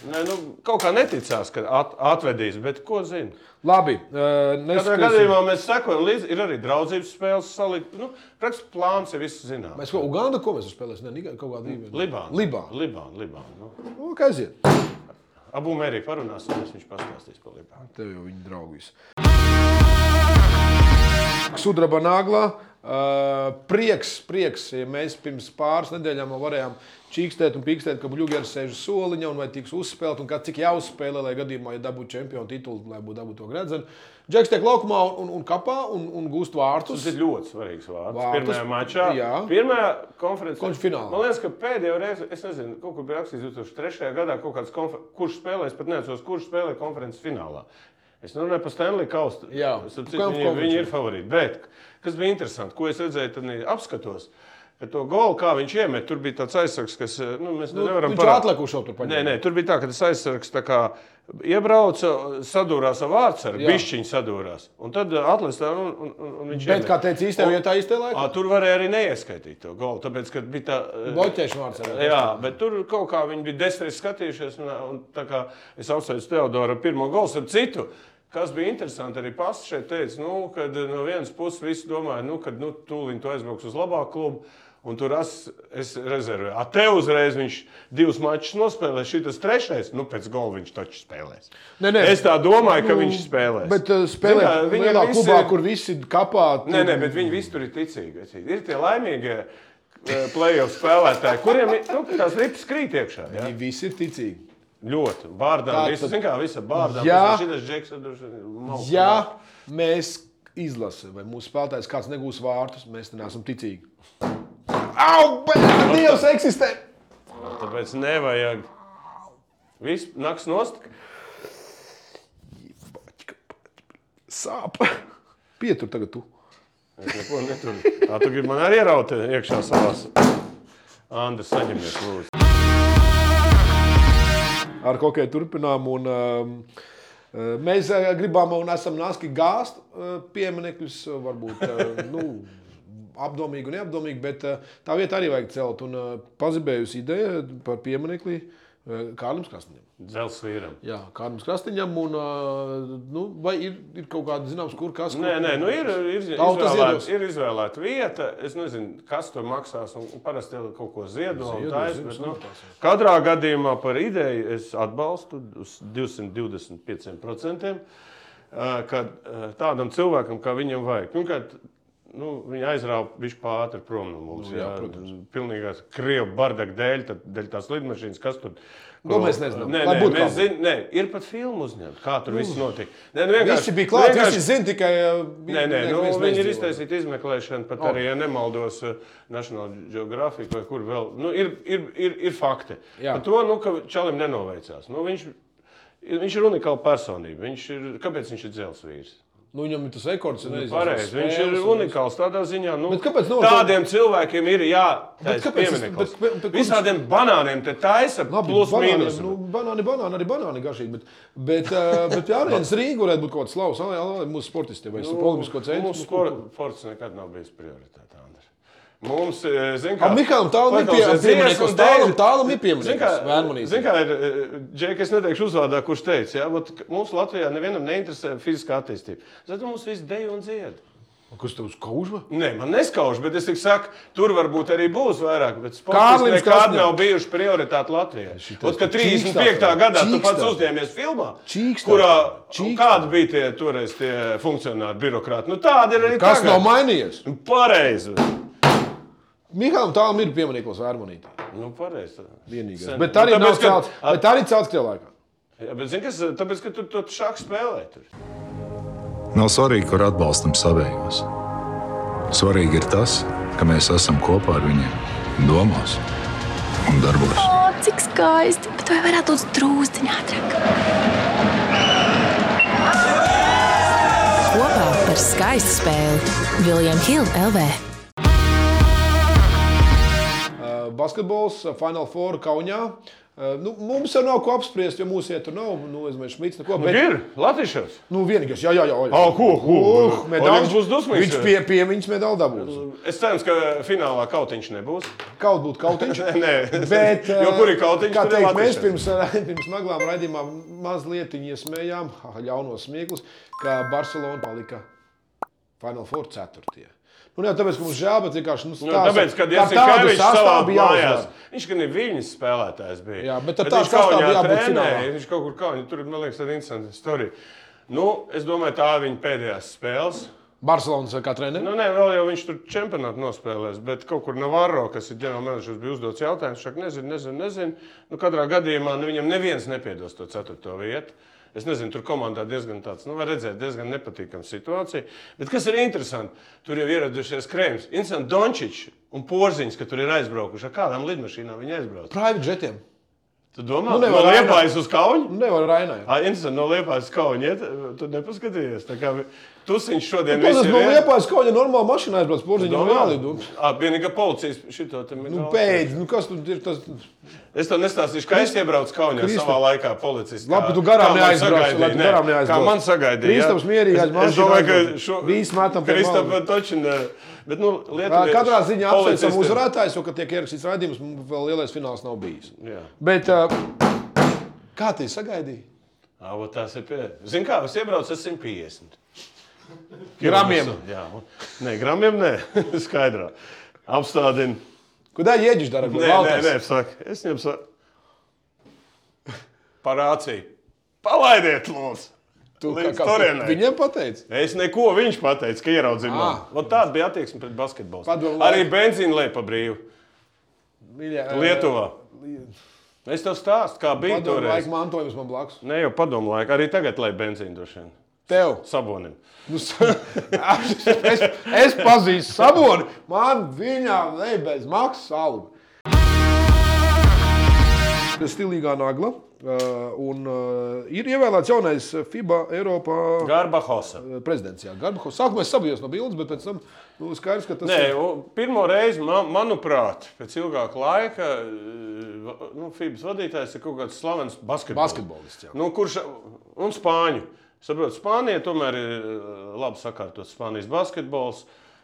Speaker 3: Nē, nu, kaut kā neticās, ka at, atvedīs, bet ko zina.
Speaker 2: Labi, ā,
Speaker 3: Katrā
Speaker 2: neskriesim.
Speaker 3: gadījumā mēs sekojam līdzi. Ir arī draudzības spēles salikt. Nu, Praktiski plāns ir viss zināms.
Speaker 2: Mēs ko Uganda ko mēs spēlēsim? Ne, Nigā- kaut kādā brīdī.
Speaker 3: Mm, Libāna.
Speaker 2: Libāna.
Speaker 3: Libāna, Libāna. Nu.
Speaker 2: Nu, kā aiziet?
Speaker 3: Abu mērī parunāsimies, viņš pastāstīs par Libānu.
Speaker 2: Tev jau viņa draugus. Sudraba nāglā. Uh, prieks, prieks, ja mēs pirms pāris nedēļām vēl varējām čīkstēt un pīkstēt, ka Bluegrass sēž uz soliņa un vai tiks uzspēlēts un kā cik jāuzspēlē, lai gadījumā, ja dabūtu čempionu titulu, lai būtu dabūtu to gredzenu. Džeks tiek laukumā un, un, un kapā un, un gūst vārtus.
Speaker 3: Tas ir ļoti svarīgs vārds.
Speaker 2: Vārds.
Speaker 3: vārds. Pirmajā mačā,
Speaker 2: Jā.
Speaker 3: pirmajā konferencē.
Speaker 2: Konferences finālā.
Speaker 3: Man liekas, ka pēdējo reizi, es nezinu, kaut kur bija rakstīts 2003. gadā, kaut kāds konfer... kurš spēlēs, pat neatceros, kurš spēlēja konferences finālā. Es runāju par Stanley Kaustu.
Speaker 2: Jā.
Speaker 3: Es saprotu,
Speaker 2: Kam
Speaker 3: viņi,
Speaker 2: konferences?
Speaker 3: viņi ir favorīti. Bet kas bija interesanti, ko es redzēju, tad apskatos. ka To golu, kā viņš iemet, tur bija tāds aizsargs, kas nu, mēs nu, nevaram
Speaker 2: Viņš ir atlikušo tur
Speaker 3: Nē,
Speaker 2: paņēma.
Speaker 3: nē, tur bija tā, ka tas aizsargs tā kā iebrauca, sadūrās ar vārdsargu,
Speaker 2: Jā.
Speaker 3: bišķiņš sadūrās. Un tad atlasa, un, un, un, un viņš
Speaker 2: Bet,
Speaker 3: iemet.
Speaker 2: kā teica, īstajā
Speaker 3: Un-
Speaker 2: vietā, īstajā laikā.
Speaker 3: Ā, Tur varēja arī neieskaitīt to golu, tāpēc, ka bija tā. eh,
Speaker 2: Bloķēšana vārds.
Speaker 3: Jā, bet tur kaut kā viņi bija desmit reizes skatījušies. Un, un tā kā es apsveicu Teodoru ar pirmo golu, ar citu. Kas bija interesanti, arī Pasta eh, šeit teica, nu, ka no vienas puses visi domāja, nu, ka nu, tūlīt tu aizbrauks uz labāku klubu. Un tur es, es rezervēju. Ar te uzreiz viņš divus mačus nospēlēs. Šis trešais, nu, pēc gola viņš taču spēlēs.
Speaker 2: Nē, nē.
Speaker 3: Es tā domāju, ka viņš spēlēs.
Speaker 2: Bet uh, spēlē
Speaker 3: Zini kā, viņiem
Speaker 2: vienā
Speaker 3: visi
Speaker 2: klubā,
Speaker 3: ir-
Speaker 2: kur visi kapā.
Speaker 3: Nē, nē, bet
Speaker 2: Mm.
Speaker 3: viņi visi tur ir ticīgi. vecīt. Ir tie laimīgie eh, playoff spēlētāji, kuriem ir nu, tās rips krīt iekšā. Ja?
Speaker 2: Viņi visi ir ticīgi.
Speaker 3: Ļoti. Bārdā,
Speaker 2: Tā
Speaker 3: visu,
Speaker 2: tad-
Speaker 3: zin kā, visa bārdā.
Speaker 2: Jā.
Speaker 3: Šis džeks ir droši vien malks.
Speaker 2: Ja mēs izlasām, vai mūsu spēlētājs kāds negūs vārtus, mēs te neesam ticīgi. Au, bet Dievs eksistē!
Speaker 3: Tāpēc nevajag. Viss nāks nost.
Speaker 2: Sāp! Pietur tagad tu.
Speaker 3: Es neko neturu. Tā tu gribi man arī ieraut iekšā savās. Andri, saņemies, lūdzu.
Speaker 2: Ar hokeju turpinām. Un, um, uh, Mēs uh, gribam un esam nāski gāzt uh, pieminekļus, uh, varbūt uh, [laughs] nu, apdomīgi un neapdomīgi, bet uh, tā vieta arī vajag celt. Un uh, pazibējusi ideja par pieminekli uh, Kārlim Krasnam.
Speaker 3: Dzels vīram.
Speaker 2: Jā, Kārlis Krasniņam, un uh, nu, vai ir, ir kaut kāda zināms, kur kas kur-
Speaker 3: Nē, nē, nu ir, ir,
Speaker 2: Tauta
Speaker 3: izvēlēta,
Speaker 2: ziedos.
Speaker 3: ir izvēlēta vieta. Es nezinu, kas tur maksās. un Parasti jau kaut ko ziedo. un
Speaker 2: Ziedo,
Speaker 3: tais,
Speaker 2: ziedo,
Speaker 3: bet,
Speaker 2: ziedo,
Speaker 3: nu,
Speaker 2: tās ir.
Speaker 3: katrā gadījumā par ideju es atbalstu uz 225%. eh, Kad eh, tādam cilvēkam, kā viņam vajag, pirmkārt, nu, viņa aizrāva viņš pāri prom no mums.
Speaker 2: Nu, jā, protams.
Speaker 3: Pilnīgās krievu bardaka dēļ, tad, dēļ tās lidmašīnas, kas tur.
Speaker 2: Nu, mēs nezinām.
Speaker 3: Nē,
Speaker 2: Lai
Speaker 3: nē,
Speaker 2: būtu
Speaker 3: mēs
Speaker 2: labi.
Speaker 3: zin, nē, ir pat filmu uzņemta. Kā tur viss notika? Nē, nu, vienkārši-
Speaker 2: Visi bija klāti,
Speaker 3: vienkārši-
Speaker 2: visi zina tikai. eh,
Speaker 3: Nē, nē, nu, viņi ir iztaisījuši izmeklēšanu, pat arī, ja nemaldos, eh, National Geographic vai kur vēl. Nu, ir, ir, ir, ir fakti.
Speaker 2: Jā.
Speaker 3: Par to, nu, ka Čalim nenoveicās. Nu, viņš, viņš ir unikāla personība. Viņš ir, kāpēc viņš ir dzelsvīrs?
Speaker 2: Nu, viņam ir tas rekords, un
Speaker 3: Pareizi, viņš ir unikāls tādā ziņā. Nu,
Speaker 2: Bet kāpēc nav-
Speaker 3: tādiem cilvēkiem ir
Speaker 2: Bet
Speaker 3: jātaisa
Speaker 2: kāpēc es-
Speaker 3: piemineklis.
Speaker 2: bet- bet- bet kur-
Speaker 3: Visādiem banāniem te taisa
Speaker 2: Labi,
Speaker 3: plus
Speaker 2: banāni,
Speaker 3: mīnus.
Speaker 2: Nu, banāni, banāni, arī banāni garšīgi. Bet, bet, eh, bet pie ārējienes Rīgā varētu būt kaut kāds slavs. Ai, ai, Mūsu sportistiem vai nu, olimpisko centru.
Speaker 3: Mums sports nekad nav bijis prioritāte, Andri. Mums, zin kā... e,
Speaker 2: Ar Mihālam tālam ir pie-
Speaker 3: paklausies dziesmu,
Speaker 2: piemineklis. Tālam,
Speaker 3: Deivi-
Speaker 2: tālam ir
Speaker 3: Zini, kā,
Speaker 2: piemineklis. Vērmanīsim.
Speaker 3: zini, kā ir, eh, Džek, es neteikšu uzvārdā, kurš teica, ja, vot, ka mums Latvijā nevienam neinteresē fiziskā attīstība. Zato mums viss deju un dzied.
Speaker 2: Kas tev uz kaužva?
Speaker 3: Nē, man neskauž, bet es tik saku, tur varbūt arī būs vairāk. Bet sports
Speaker 2: Kārlis
Speaker 3: nekad
Speaker 2: Krasņevs.
Speaker 3: nav bijuši prioritāte Latvijā.
Speaker 2: Šitas
Speaker 3: Ot, ka
Speaker 2: tu
Speaker 3: 35.
Speaker 2: čīkstās,
Speaker 3: gadā tu
Speaker 2: čīkstās.
Speaker 3: pats uzņēmies filmā,
Speaker 2: Čīkstās,
Speaker 3: kurā
Speaker 2: čīkstās.
Speaker 3: kāda bija tie toreiz tie funkcionāri, birokrāti. Nu, tāda ir arī
Speaker 2: Kas
Speaker 3: tagad. Nu,
Speaker 2: nav mainījies?
Speaker 3: Pareizi.
Speaker 2: Mihālam tālam ir piemineklis Vērmanītā.
Speaker 3: Nu, pareizi.
Speaker 2: Vienīgais.
Speaker 3: Sen.
Speaker 2: Bet arī
Speaker 3: Nu,
Speaker 2: nav
Speaker 3: tāpēc, ka-
Speaker 2: celts. Bet arī celts cilvēkam.
Speaker 3: Jā, bet zini, kas tāpēc, ka tur tur šāk spēlē. Tur.
Speaker 4: Nav svarīgi, kur atbalstam savējos. Svarīgi ir tas, ka mēs esam kopā ar viņiem, domās un darbos.
Speaker 5: O, cik skaisti, bet vai varētu būt drūzdiņā ātrāk?
Speaker 6: Kopā par skaistu spēli Viljam Hill LV.
Speaker 2: Uh, basketbols, uh, Final Four Kaunijā. Uh, Nu, mums jau nav ko apspriest, jo mūsu ieteikumā nav. Nu, es domāju, Šmits, neko. Bet,
Speaker 3: Ir Latvijas.
Speaker 2: nu, vienīgais, jā, jā, jā. jā.
Speaker 3: Ah, ko, ko?
Speaker 2: Uh, medaļas
Speaker 3: Viņš būs dusmīgs.
Speaker 2: Viņš pie, pie viņas medaļu dabūs.
Speaker 3: Es ceru, ka finālā kautiņš nebūs.
Speaker 2: Kaut būtu kautiņš.
Speaker 3: [laughs] Nē, nē.
Speaker 2: Bet, eh,
Speaker 3: Jo kur ir kautiņš,
Speaker 2: Kā
Speaker 3: tur ir
Speaker 2: teikt, mēs
Speaker 3: latišana.
Speaker 2: pirms, eh, [laughs] pirms naglām raidījumā mazliet iesmējām, ah, ļaunos smieklus, ka Barcelona palika Final Four 4. Nu, ne jau tāpēc, ka mums žēl, bet vienkārši nu,
Speaker 3: Nu,
Speaker 2: stāsts-
Speaker 3: tāpēc, kad
Speaker 2: kā
Speaker 3: Jānis
Speaker 2: tādu
Speaker 3: Kreņš savā
Speaker 2: sastāvu bija
Speaker 3: mājās,
Speaker 2: jāuzvar.
Speaker 3: viņš gan ir viņas spēlētājs. Bija.
Speaker 2: Jā, bet ar tādu
Speaker 3: viņš
Speaker 2: sastāvu
Speaker 3: Kaunijā
Speaker 2: jābūt
Speaker 3: trenēja,
Speaker 2: finālā.
Speaker 3: Viņš kaut kur kā, tur man liekas, tāda interesanta storija. Nu, es domāju, tā ir viņa pēdējās spēles.
Speaker 2: Barcelonas eh, kā treneris.
Speaker 3: Nu, nē, vēl jau viņš tur čempionātā nospēlēs, bet kaut kur Navarro, kas ir ģenerālmenedžers, bija uzdots jautājums. Viņš saka, nezinu, nezinu. nezinu. Nu, katrā gadījumā nu, viņam neviens nepiedos to ceturto vietu. Es nezinu, tur komandā diezgan tāds, nu, var redzēt, diezgan nepatīkama situācija. Bet kas ir interesanti, tur jau ieradušies Krēms, Insants Dončičs un Porziņš, ka tur ir aizbraukuši. Ar kādām lidmašīnām viņi aizbrauc?
Speaker 2: Private jetiem.
Speaker 3: Tu domā,
Speaker 2: Nu,
Speaker 3: nu,
Speaker 2: nevar
Speaker 3: no
Speaker 2: redzēt.
Speaker 3: Liepājas uz Kaunu?
Speaker 2: Nu, Nevar rainēt.
Speaker 3: Ai, Insants, no Liepājas uz Kaunu, iet? tu nepaskatījies. Tā kā vi- Tusiņš šodien
Speaker 2: Nu, Tas
Speaker 3: visi ir
Speaker 2: no
Speaker 3: vien-
Speaker 2: liepājas kaut kāda normāla mašīna aizbrauc porziņā un jālidums.
Speaker 3: Vienīgā Ah, policijas šito te minēja.
Speaker 2: Nu, pēc, nu kas tur ir tas?
Speaker 3: Es to nestāstīšu, kā es iebraucu Kaunijā
Speaker 2: Kristu-
Speaker 3: savā laikā policists.
Speaker 2: Labi,
Speaker 3: kā-
Speaker 2: tu garām
Speaker 3: kā man
Speaker 2: neaizbrauc,
Speaker 3: sagaidīja,
Speaker 2: labi, tu
Speaker 3: nē,
Speaker 2: garām neaizbrauc.
Speaker 3: Kā man sagaidīja. jā.
Speaker 2: Kristaps mierīgi aiz
Speaker 3: Es- Es
Speaker 2: mašīnu
Speaker 3: domāju, ka
Speaker 2: aizbrauc.
Speaker 3: šo...
Speaker 2: Visi metam pie
Speaker 3: Kristapam
Speaker 2: malas.
Speaker 3: točin. Bet, nu, Lietuva.
Speaker 2: Katrā ziņā apsveicam uzvarētājus, jo, kad tiek ierakstīts raidījums, mums vēl lielais fināls nav bijis. Bet ā, kā tu sagaidīji?
Speaker 3: Avo, tās ir pie... Zini kā, es iebraucu ar 150.
Speaker 2: Gramiem.
Speaker 3: [laughs] Jā, un- nē, gramiem nē, skaidrā. Apstādini.
Speaker 2: Ko tā jēdziš dara?
Speaker 3: Nē, nē, nē, saka, es viņam [laughs] saku, parācīju. Palaidiet, lūdzu! līdz turienei.
Speaker 2: Viņam pateica.
Speaker 3: Es neko viņš pateica, ka ieraudzīju mani.
Speaker 2: Ah.
Speaker 3: Vat Tāda bija attieksme pret basketbolu.
Speaker 2: Padomu
Speaker 3: Arī
Speaker 2: laiku.
Speaker 3: benzīna lēpa brīvi Lietuvā. Es tev stāstu, kā bija
Speaker 2: Uh, Padomu
Speaker 3: toreiz.
Speaker 2: laiku mantojums man blakus.
Speaker 3: Ne jau padomu laiku, arī tagad lai benzīna droši vien.
Speaker 2: Tev.
Speaker 3: Sabonim.
Speaker 2: Nu, sa- [laughs] es, es pazīstu saboni. Man viņam ne bez maksas alga. Stilīgā nagla. Uh, un uh, ir ievēlēts jaunais FIBA Eiropā
Speaker 3: Garba Hosa.
Speaker 2: prezidents. Jā, Garbaho. Sākumā es sabijos no bildes, bet pēc tam nu, skaidrs, ka tas
Speaker 3: Nē,
Speaker 2: ir.
Speaker 3: u- pirmo reizi, man, manuprāt, pēc ilgāka laika, e, va- nu, FIBS vadītājs ir kaut kāds slavens basketbolists.
Speaker 2: Basketbolists, jā.
Speaker 3: nu, kurš un spāņu. Saprotu, Spānija tomēr ir e, labi sakārtots Spānijas basketbols.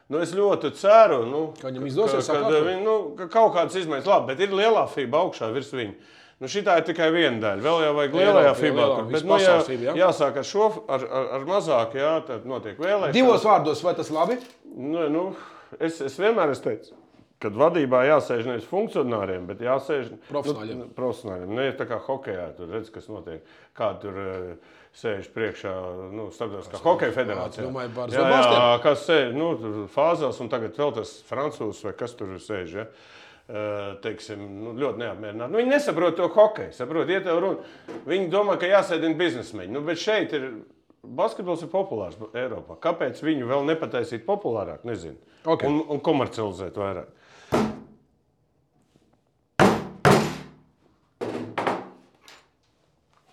Speaker 3: Nu, es ļoti ceru, nu,
Speaker 2: Ka viņam izdosies
Speaker 3: ka, ka,
Speaker 2: sakārtot.
Speaker 3: viņi, nu, ka kaut kādas izmaiņas, labi, bet ir lielā FIBA augšā virs viņa. Nu, šī ir tikai viena daļa. Vēl jau vajag lielajā
Speaker 2: Eiropā,
Speaker 3: FIBA.
Speaker 2: lielā,
Speaker 3: tur,
Speaker 2: visu
Speaker 3: Bet, nu, jā,
Speaker 2: pasaules FIBA, jā.
Speaker 3: jāsāk ar šo, ar, ar, ar mazāku, jā, tad notiek vēlēšanas.
Speaker 2: Divos vārdos, vai tas labi?
Speaker 3: Nu, nu, es, es vienmēr esmu teicis, ka vadībā jāsēž nevis funkcionāriem, bet jāsēž
Speaker 2: Profesionāļiem.
Speaker 3: Nu, profesionāļiem. Ne tā kā hokeja, tur redz, kas notiek. Kā tur eh, sēž priekšā nu, Starptautiskā hokeja federācijā.
Speaker 2: domāju, par
Speaker 3: jā, jā,
Speaker 2: Zabalstiem.
Speaker 3: kas sēž nu, tur fāzās, un tagad vēl tas francūzs vai kas tur sēž. Ja? Eh, Teiksim, nu, ļoti neapmierināti. Nu, viņi nesaprot to hokeju, saprot, iet uz runu. Viņi domā, ka jāsēdina biznesmeņi. Nu, bet šeit ir basketbols ir populārs Eiropā. Kāpēc viņu vēl nepataisīt populārāk? Nezinu.
Speaker 2: Ok.
Speaker 3: Un, un komercializēt vairāk.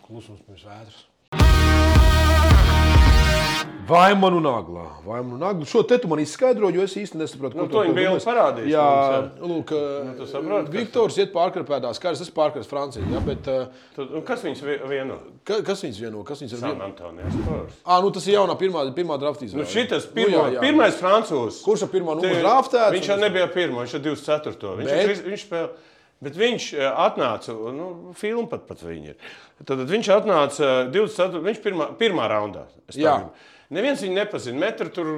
Speaker 2: Klusums pirms vētras. Vai man un aglā? Vai man un aglā? Šo te tu man izskaidro, jo es īsti nesaprotu,
Speaker 3: Nu,
Speaker 2: ko
Speaker 3: to
Speaker 2: tu
Speaker 3: viņi bija
Speaker 2: domāsi.
Speaker 3: parādījuši
Speaker 2: Jā,
Speaker 3: mums, Nu,
Speaker 2: lūk, eh,
Speaker 3: tu saproti, kas
Speaker 2: Viktors iet pārkarpētās kārtas, es pārkarpēju Franciju. Jā, bet, ā,
Speaker 3: Tad, nu, kas viņus vi- vieno?
Speaker 2: ka, kas viņus vieno? Kas viņus ir
Speaker 3: San
Speaker 2: vieno?
Speaker 3: Antonijas Spurs.
Speaker 2: Ā, nu tas ir jaunā pirmā, pirmā draftā.
Speaker 3: Nu, šitas pirmo, nu, jā, jā. pirmais francūzs.
Speaker 2: Kurš ar pirmo numuru
Speaker 3: Te-
Speaker 2: draftēts?
Speaker 3: Viņš jau nebija pirmo, viņš jau 24. Viņš,
Speaker 2: Bet-
Speaker 3: bet... viņš, viņš spēlē. Bet viņš eh, atnāca, nu, filma pat, pat viņa ir. Tad viņš atnāca eh, 24. viņš pirmā, pirmā raundā. es tā
Speaker 2: Jā.
Speaker 3: gribu. Neviens viņu nepazina. Metru tur eh,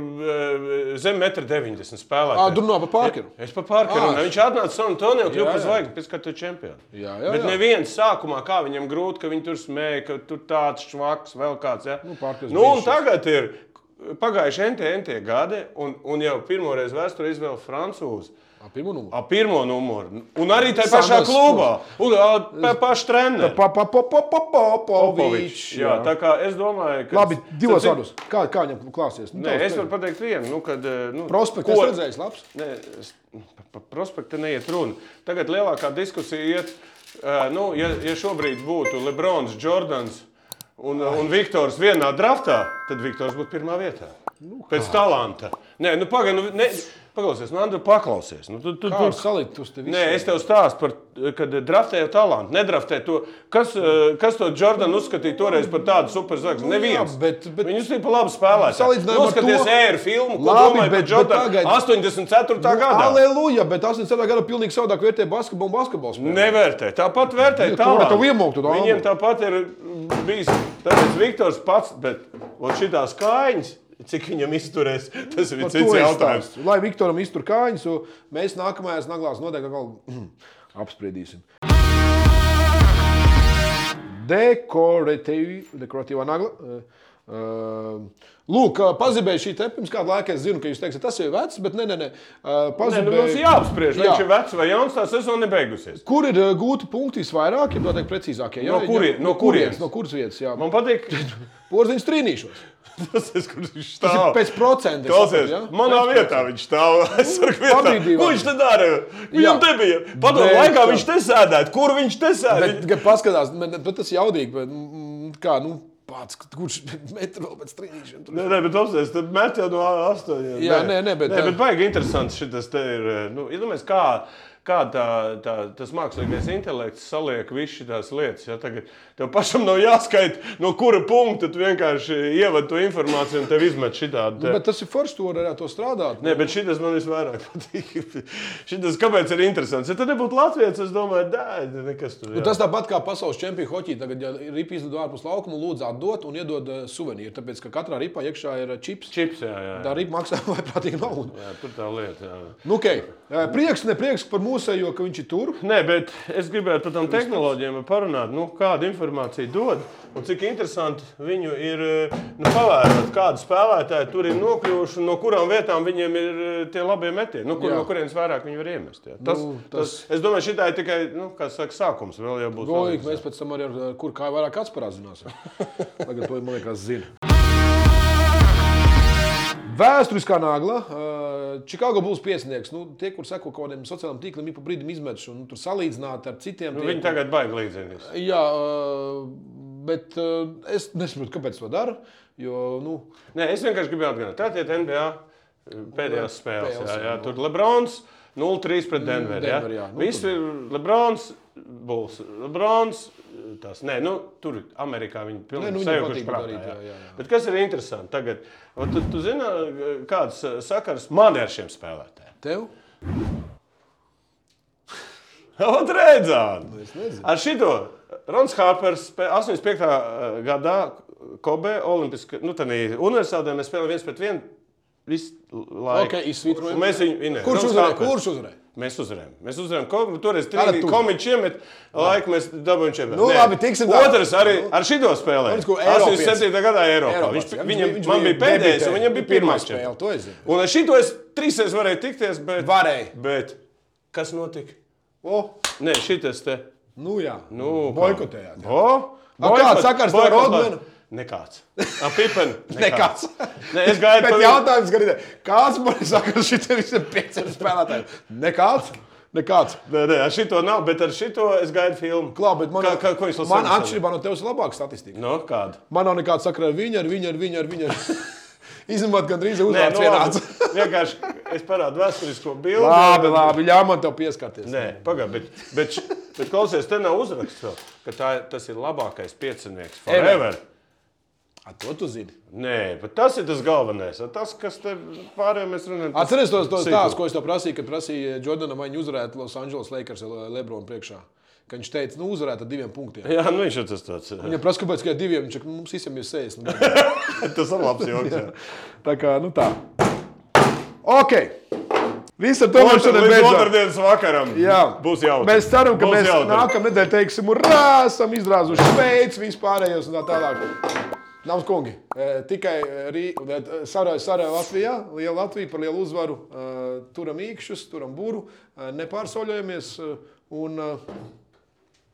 Speaker 3: zem 1,90 m spēlēja.
Speaker 2: Ā, Ah, tu runā par Parkeru?
Speaker 3: Es par Parkeru.
Speaker 2: Ā,
Speaker 3: runāju. Viņš atnāca San Antonio, kļuva
Speaker 2: Jā,
Speaker 3: par
Speaker 2: jā.
Speaker 3: zvaigzni, pēc kā tu čempionu.
Speaker 2: Jā, jā,
Speaker 3: Bet
Speaker 2: jā.
Speaker 3: neviens sākumā, kā viņam grūti, ka viņi tur smēja, ka tur tāds švaks, vēl kāds. Ja?
Speaker 2: Nu, Parkers
Speaker 3: nu, un
Speaker 2: bijušais.
Speaker 3: tagad ir pagājuši NT, NT gadi, un, un jau pirmo reizi vēsturē izvēlēja francūzi.
Speaker 2: Pirmā numura.
Speaker 3: Ar pirmo numuru. Un arī tajā pašā
Speaker 2: Sanders
Speaker 3: klubā. Un tā paša treniņa.
Speaker 2: Papapopopopopovičs.
Speaker 3: Jā, tā kā es domāju, ka.
Speaker 2: Labi, divos
Speaker 3: Starp
Speaker 2: vārdos. Kā, kā viņam klāsies? Nu,
Speaker 3: Nē,
Speaker 2: tavs
Speaker 3: es varu pateikt vienu. Nu, kad, eh, nu,
Speaker 2: Prospekts
Speaker 3: ko-
Speaker 2: ir redzējis, labs.
Speaker 3: Nē, es- pa- pa prospekta neiet runa. Tagad lielākā diskusija iet, eh, nu, ja, ja šobrīd būtu Lebrons, Jordans un, un Viktors vienā draftā, tad Viktors būtu pirmā vietā. Pēc talanta. Nē, nu pagaidi, nu, ne- paklausies, nu, Andru, paklausies. Nu, tu, tu,
Speaker 2: Kā
Speaker 3: tu,
Speaker 2: ir salikt uz tevis?
Speaker 3: Nē, es tev stāstu par to, kad draftēju talantu. Nedraftēju to. Kas, eh, kas to Jordānu uzskatīja toreiz par tādu superzvaigzni?
Speaker 2: Nu, jā,
Speaker 3: Neviens.
Speaker 2: bet- bet-
Speaker 3: Viņu uzskatīja par labu spēlētāju.
Speaker 2: Salīdzinājumā ar
Speaker 3: Noskaties,
Speaker 2: to-
Speaker 3: ēra filmu, ko
Speaker 2: Labi,
Speaker 3: domāja par
Speaker 2: bet- bet
Speaker 3: Jordānu
Speaker 2: tagad-
Speaker 3: 84. gadā.
Speaker 2: Nu, Aleluja, bet 87. gada pilnīgi savādāk vērtē basketbolu un basketbolu.
Speaker 3: Nu,
Speaker 2: spēli.
Speaker 3: Nevērtē. Tāpat
Speaker 2: Jā,
Speaker 3: vērtē
Speaker 2: kā
Speaker 3: talantu.
Speaker 2: varētu iemūkt to dāmu?
Speaker 3: Viņiem tāpat ir bijis. Tāpēc Viktors pats, bet šīs kājas, cik viņam izturēs, tas ir
Speaker 2: Par
Speaker 3: cits
Speaker 2: to es
Speaker 3: jautājums.
Speaker 2: stāstu. Lai Viktoram iztur kājas, un mēs nākamajās naglās noteikti atkal [clears throat] apspriedīsim. Dekoratīvi- Dekoratīvā nagla. eh, eh, Lūk, eh, pazibēja šī te pirms kāda laika. Es zinu, ka jūs teiksiet, tas jau ir vecs, bet nē, nē, nē. eh,
Speaker 3: Nē, nu,
Speaker 2: Pazibēja...
Speaker 3: Mums jāapspriež, vai
Speaker 2: Jā.
Speaker 3: viņš ir vecs vai jauns, tā sezona nebeigusies.
Speaker 2: Kur ir eh, gūti punkti visvairāk, ja noteikti precīzākie?
Speaker 3: No kurie- no kurienes?
Speaker 2: No kuras vietas? Jā,
Speaker 3: Man patīk,
Speaker 2: porziņš trīnīšos.
Speaker 3: tas ir kurš viņš
Speaker 2: Tas
Speaker 3: stāv.
Speaker 2: ir pēc procentiem. saprati,
Speaker 3: Klausies,
Speaker 2: ja?
Speaker 3: manā
Speaker 2: Pēc
Speaker 3: vietā viņš stāv. aizsargu vietā.
Speaker 2: Pabīdī
Speaker 3: Ko
Speaker 2: vēl.
Speaker 3: viņš te dara?
Speaker 2: Jā.
Speaker 3: Viņam te bija. Padomu
Speaker 2: Bet-
Speaker 3: laikā viņš te sēdēja. Kur viņš te
Speaker 2: Bet,
Speaker 3: sēdēja?
Speaker 2: kad paskatās, man- bet tas ir jaudīgi. Bet, mm, kā, nu, pats, kurš [laughs] metru vēl pēc trījiem?
Speaker 3: Nē, nē, bet apstāties, tad met jau no astoņiem.
Speaker 2: Jā, nē, nē, bet-
Speaker 3: Nē, bet baigi interesants šis te ir. Nu, iedomājies, kā, kā tā, tā, tas mākslīgais intelekts saliek visu šīs lietas. Ja? Tagad tev pašam nav jāskaita, no kura punkta tu vienkārši ievadi to informāciju un tev izmet šitādi. te-
Speaker 2: Bet tas ir forši, tur arī ar to strādāt. Nu,
Speaker 3: Nē, bet šis man visvairāk [laughs] patīk. Šis, kāpēc ir interesants? Ja tad nebūtu Latvijas, es domāju, tā nekas tur
Speaker 2: Nu, tas tāpat kā pasaules čempionu hoķī. Tagad, ja ripa izlido ārpus laukuma, lūdzu atdot un iedod eh, suvenīru. Tāpēc, ka katrā ripā iekšā ir eh, čips.
Speaker 3: čips, jā, jā. jā.
Speaker 2: Tā ripa maksā [laughs] vaiprātīgi naudu.
Speaker 3: jā tur tā lieta. Jā.
Speaker 2: Nu, okay. Eh, Prieks, ne prieks par mūsējo, ka viņš ir tur.
Speaker 3: Nē, bet es gribētu par tām tehnoloģijām parunāt, nu, kāda informācija dod un cik interesanti viņu ir eh, nu, pavērot, kādi spēlētāji tur ir nokļuvuši un no kurām vietām viņiem ir eh, tie labie metieni, nu, kur,
Speaker 2: Jā.
Speaker 3: no kurienes vairāk viņi var iemest. jā. Tas,
Speaker 2: Nu,
Speaker 3: nu,
Speaker 2: tas-
Speaker 3: tas... tas, es domāju, šī ir tikai nu, kā saka, sākums. Vēl jau būs
Speaker 2: Golīgi, mēs pēc tam arī ar ar kur kā vairāk
Speaker 3: [laughs]
Speaker 2: atspērāzināsim. Tagad to man liekas zina. Vēsturiskā nagla. ā, Čikāgo būs piesniegts. Nu, tie, kur seko kaut kādiem sociālajiem tīkliem, ik pa brīdim izmetuši un nu, tur salīdzināt ar citiem.
Speaker 3: Nu,
Speaker 2: tie-
Speaker 3: viņi tagad baigi līdzinās.
Speaker 2: Jā, ā, bet ā, es nesaprotu, kāpēc to dara. Jo, nu,
Speaker 3: Nē, es vienkārši gribēju atgādināt, tā ir NBA eh, pēdējās spēles.
Speaker 2: spēles,
Speaker 3: Jā, jā.
Speaker 2: jā.
Speaker 3: Tur Lebrons 0-3 pret Denveru. Jā.
Speaker 2: Denver, jā. Nu,
Speaker 3: Viss
Speaker 2: tur-
Speaker 3: ir Lebrons, Bulls. Lebrons, tas, nē, nu, tur Amerikā viņi
Speaker 2: Nē, nu,
Speaker 3: pilnīgi
Speaker 2: viņiem
Speaker 3: sejukuši
Speaker 2: patīk
Speaker 3: prātā.
Speaker 2: darīt,
Speaker 3: Jā.
Speaker 2: jā, jā,
Speaker 3: Jā,
Speaker 2: jā.
Speaker 3: jā. Bet kas ir interesanti tagad? O, Tu, tu zini, kāds eh, sakars man ir ar šiem spēlētājiem?
Speaker 2: tev
Speaker 3: [laughs] Ot, redzām!
Speaker 2: Nu, es nezinu.
Speaker 3: Ar šito Rons Hārpers spē- 85. gadā Kobe Olimpiskā nu, tenī universitātē mēs spēlējām viens pret vienu. Visu laiku.
Speaker 2: Ok, izsvitrojam.
Speaker 3: Un Mēs viņu vinējām.
Speaker 2: Kurš uzvarēja? Kurš uzvarēja?
Speaker 3: Mēs uzvarējām. Mēs uzvarējām. Ko- nu, Toreiz
Speaker 2: Tātad
Speaker 3: trīs
Speaker 2: tu.
Speaker 3: komiķi iemet laiku, mēs dabūjām čempionu.
Speaker 2: Nu, labi, tiksim tā.
Speaker 3: Otrs arī ar šito spēlēja.
Speaker 2: Viņš ko Eiropietis.
Speaker 3: 87. gadā Eiropā.
Speaker 2: Eiropā,
Speaker 3: Viņš,
Speaker 2: jā,
Speaker 3: viņam, viņš man bija pēdējais,
Speaker 2: debitē-
Speaker 3: un viņam bija pirmā
Speaker 2: spēle.
Speaker 3: spēle.
Speaker 2: To es zinu.
Speaker 3: Un ar šito es trīsreiz varēju tikties, bet...
Speaker 2: Varēja.
Speaker 3: Bet kas notika?
Speaker 2: O,
Speaker 3: Nē, šitas te...
Speaker 2: nu jā,
Speaker 3: Nu, kā?
Speaker 2: boikotējāt. jā.
Speaker 3: O, boikot-
Speaker 2: kāds sakars tev ar
Speaker 3: boikot-
Speaker 2: Rodmanu?
Speaker 3: Nekāds. Ar Pipenu?
Speaker 2: [laughs] Nekāds.
Speaker 3: Nē, es
Speaker 2: [laughs]
Speaker 3: gāju
Speaker 2: Bet
Speaker 3: pa viņu.
Speaker 2: jautājums, gan ir, kāds man ir sakars šitiem visiem pieciem spēlētājiem? Nekāds. Nekāds.
Speaker 3: Nē, nē, ar šito nav, bet ar šito es gaidu filmu.
Speaker 2: Klā, bet man,
Speaker 3: kā, kā, ko Nu, es lasu?
Speaker 2: man atšķirībā no tevis ir labāka statistika.
Speaker 3: No, kāda?
Speaker 2: Man nav nekāda sakra ar viņu, ar viņu, ar viņu. Ar viņu. [laughs] Izņemot gandrīz
Speaker 3: Nē,
Speaker 2: uzvārds
Speaker 3: nu,
Speaker 2: vienāds.
Speaker 3: labi. [laughs] vienkārši es parādu vēsturisko bildi.
Speaker 2: Labi, labi, ļauj man tev pieskarties.
Speaker 3: Nē, pagaidi, bet, bet, š- bet klausies, te nav uzraksts vēl, ka tā, tas ir labākais piecinieks forever.
Speaker 2: A, to tu zini.
Speaker 3: Nē, bet tas ir tas galvenais. Ar Tas, kas te pārējiem mēs runājam. tas
Speaker 2: Atceries tos tos
Speaker 3: sīkums.
Speaker 2: stāstus, ko es tev prasīju, kad prasīju Jordanam, vai viņš uzvarētu Los Angeles Lakers Le- Lebronu priekšā. Ka viņš teica, nu uzvarētu ar diviem punktiem.
Speaker 3: Jā, nu viņš ir tas tāds.
Speaker 2: [laughs] Viņa prasa, kāpēc tikai diviem, viņš saka, nu, mums visiem ir 60.
Speaker 3: Tas ir labs joks. jā.
Speaker 2: Tā kā, nu tā. Ok. Viss ar to mums šodien
Speaker 3: Līdz
Speaker 2: beidzās.
Speaker 3: otrdienas vakaram
Speaker 2: Jā.
Speaker 3: būs jautri.
Speaker 2: Mēs ceram, ka
Speaker 3: Būs
Speaker 2: mēs
Speaker 3: jautri.
Speaker 2: nākamā nedēļa teiksim, urā, esam izrāzuši Šveici, vispārējos un tā tālāk. Nāms kungi, eh, tikai eh, rī- eh, sarā, sarā Latvijā, liela Latvija par lielu uzvaru. eh, Turam īkšķus, turam būru, eh, nepārsoļojamies eh, un eh,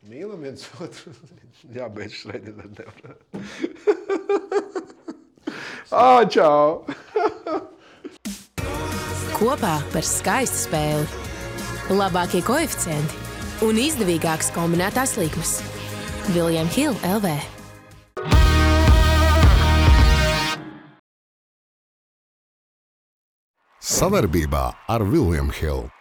Speaker 2: mīlam viens otru. [laughs] Jā, beidz šreidināt nevar. [laughs] Ā, čau!
Speaker 6: Kopā par skaistu spēli. Labākie koeficienti un izdevīgākas kombinētās likmes. Viljams Hilde LV.
Speaker 1: Savarbībā ar William Hill.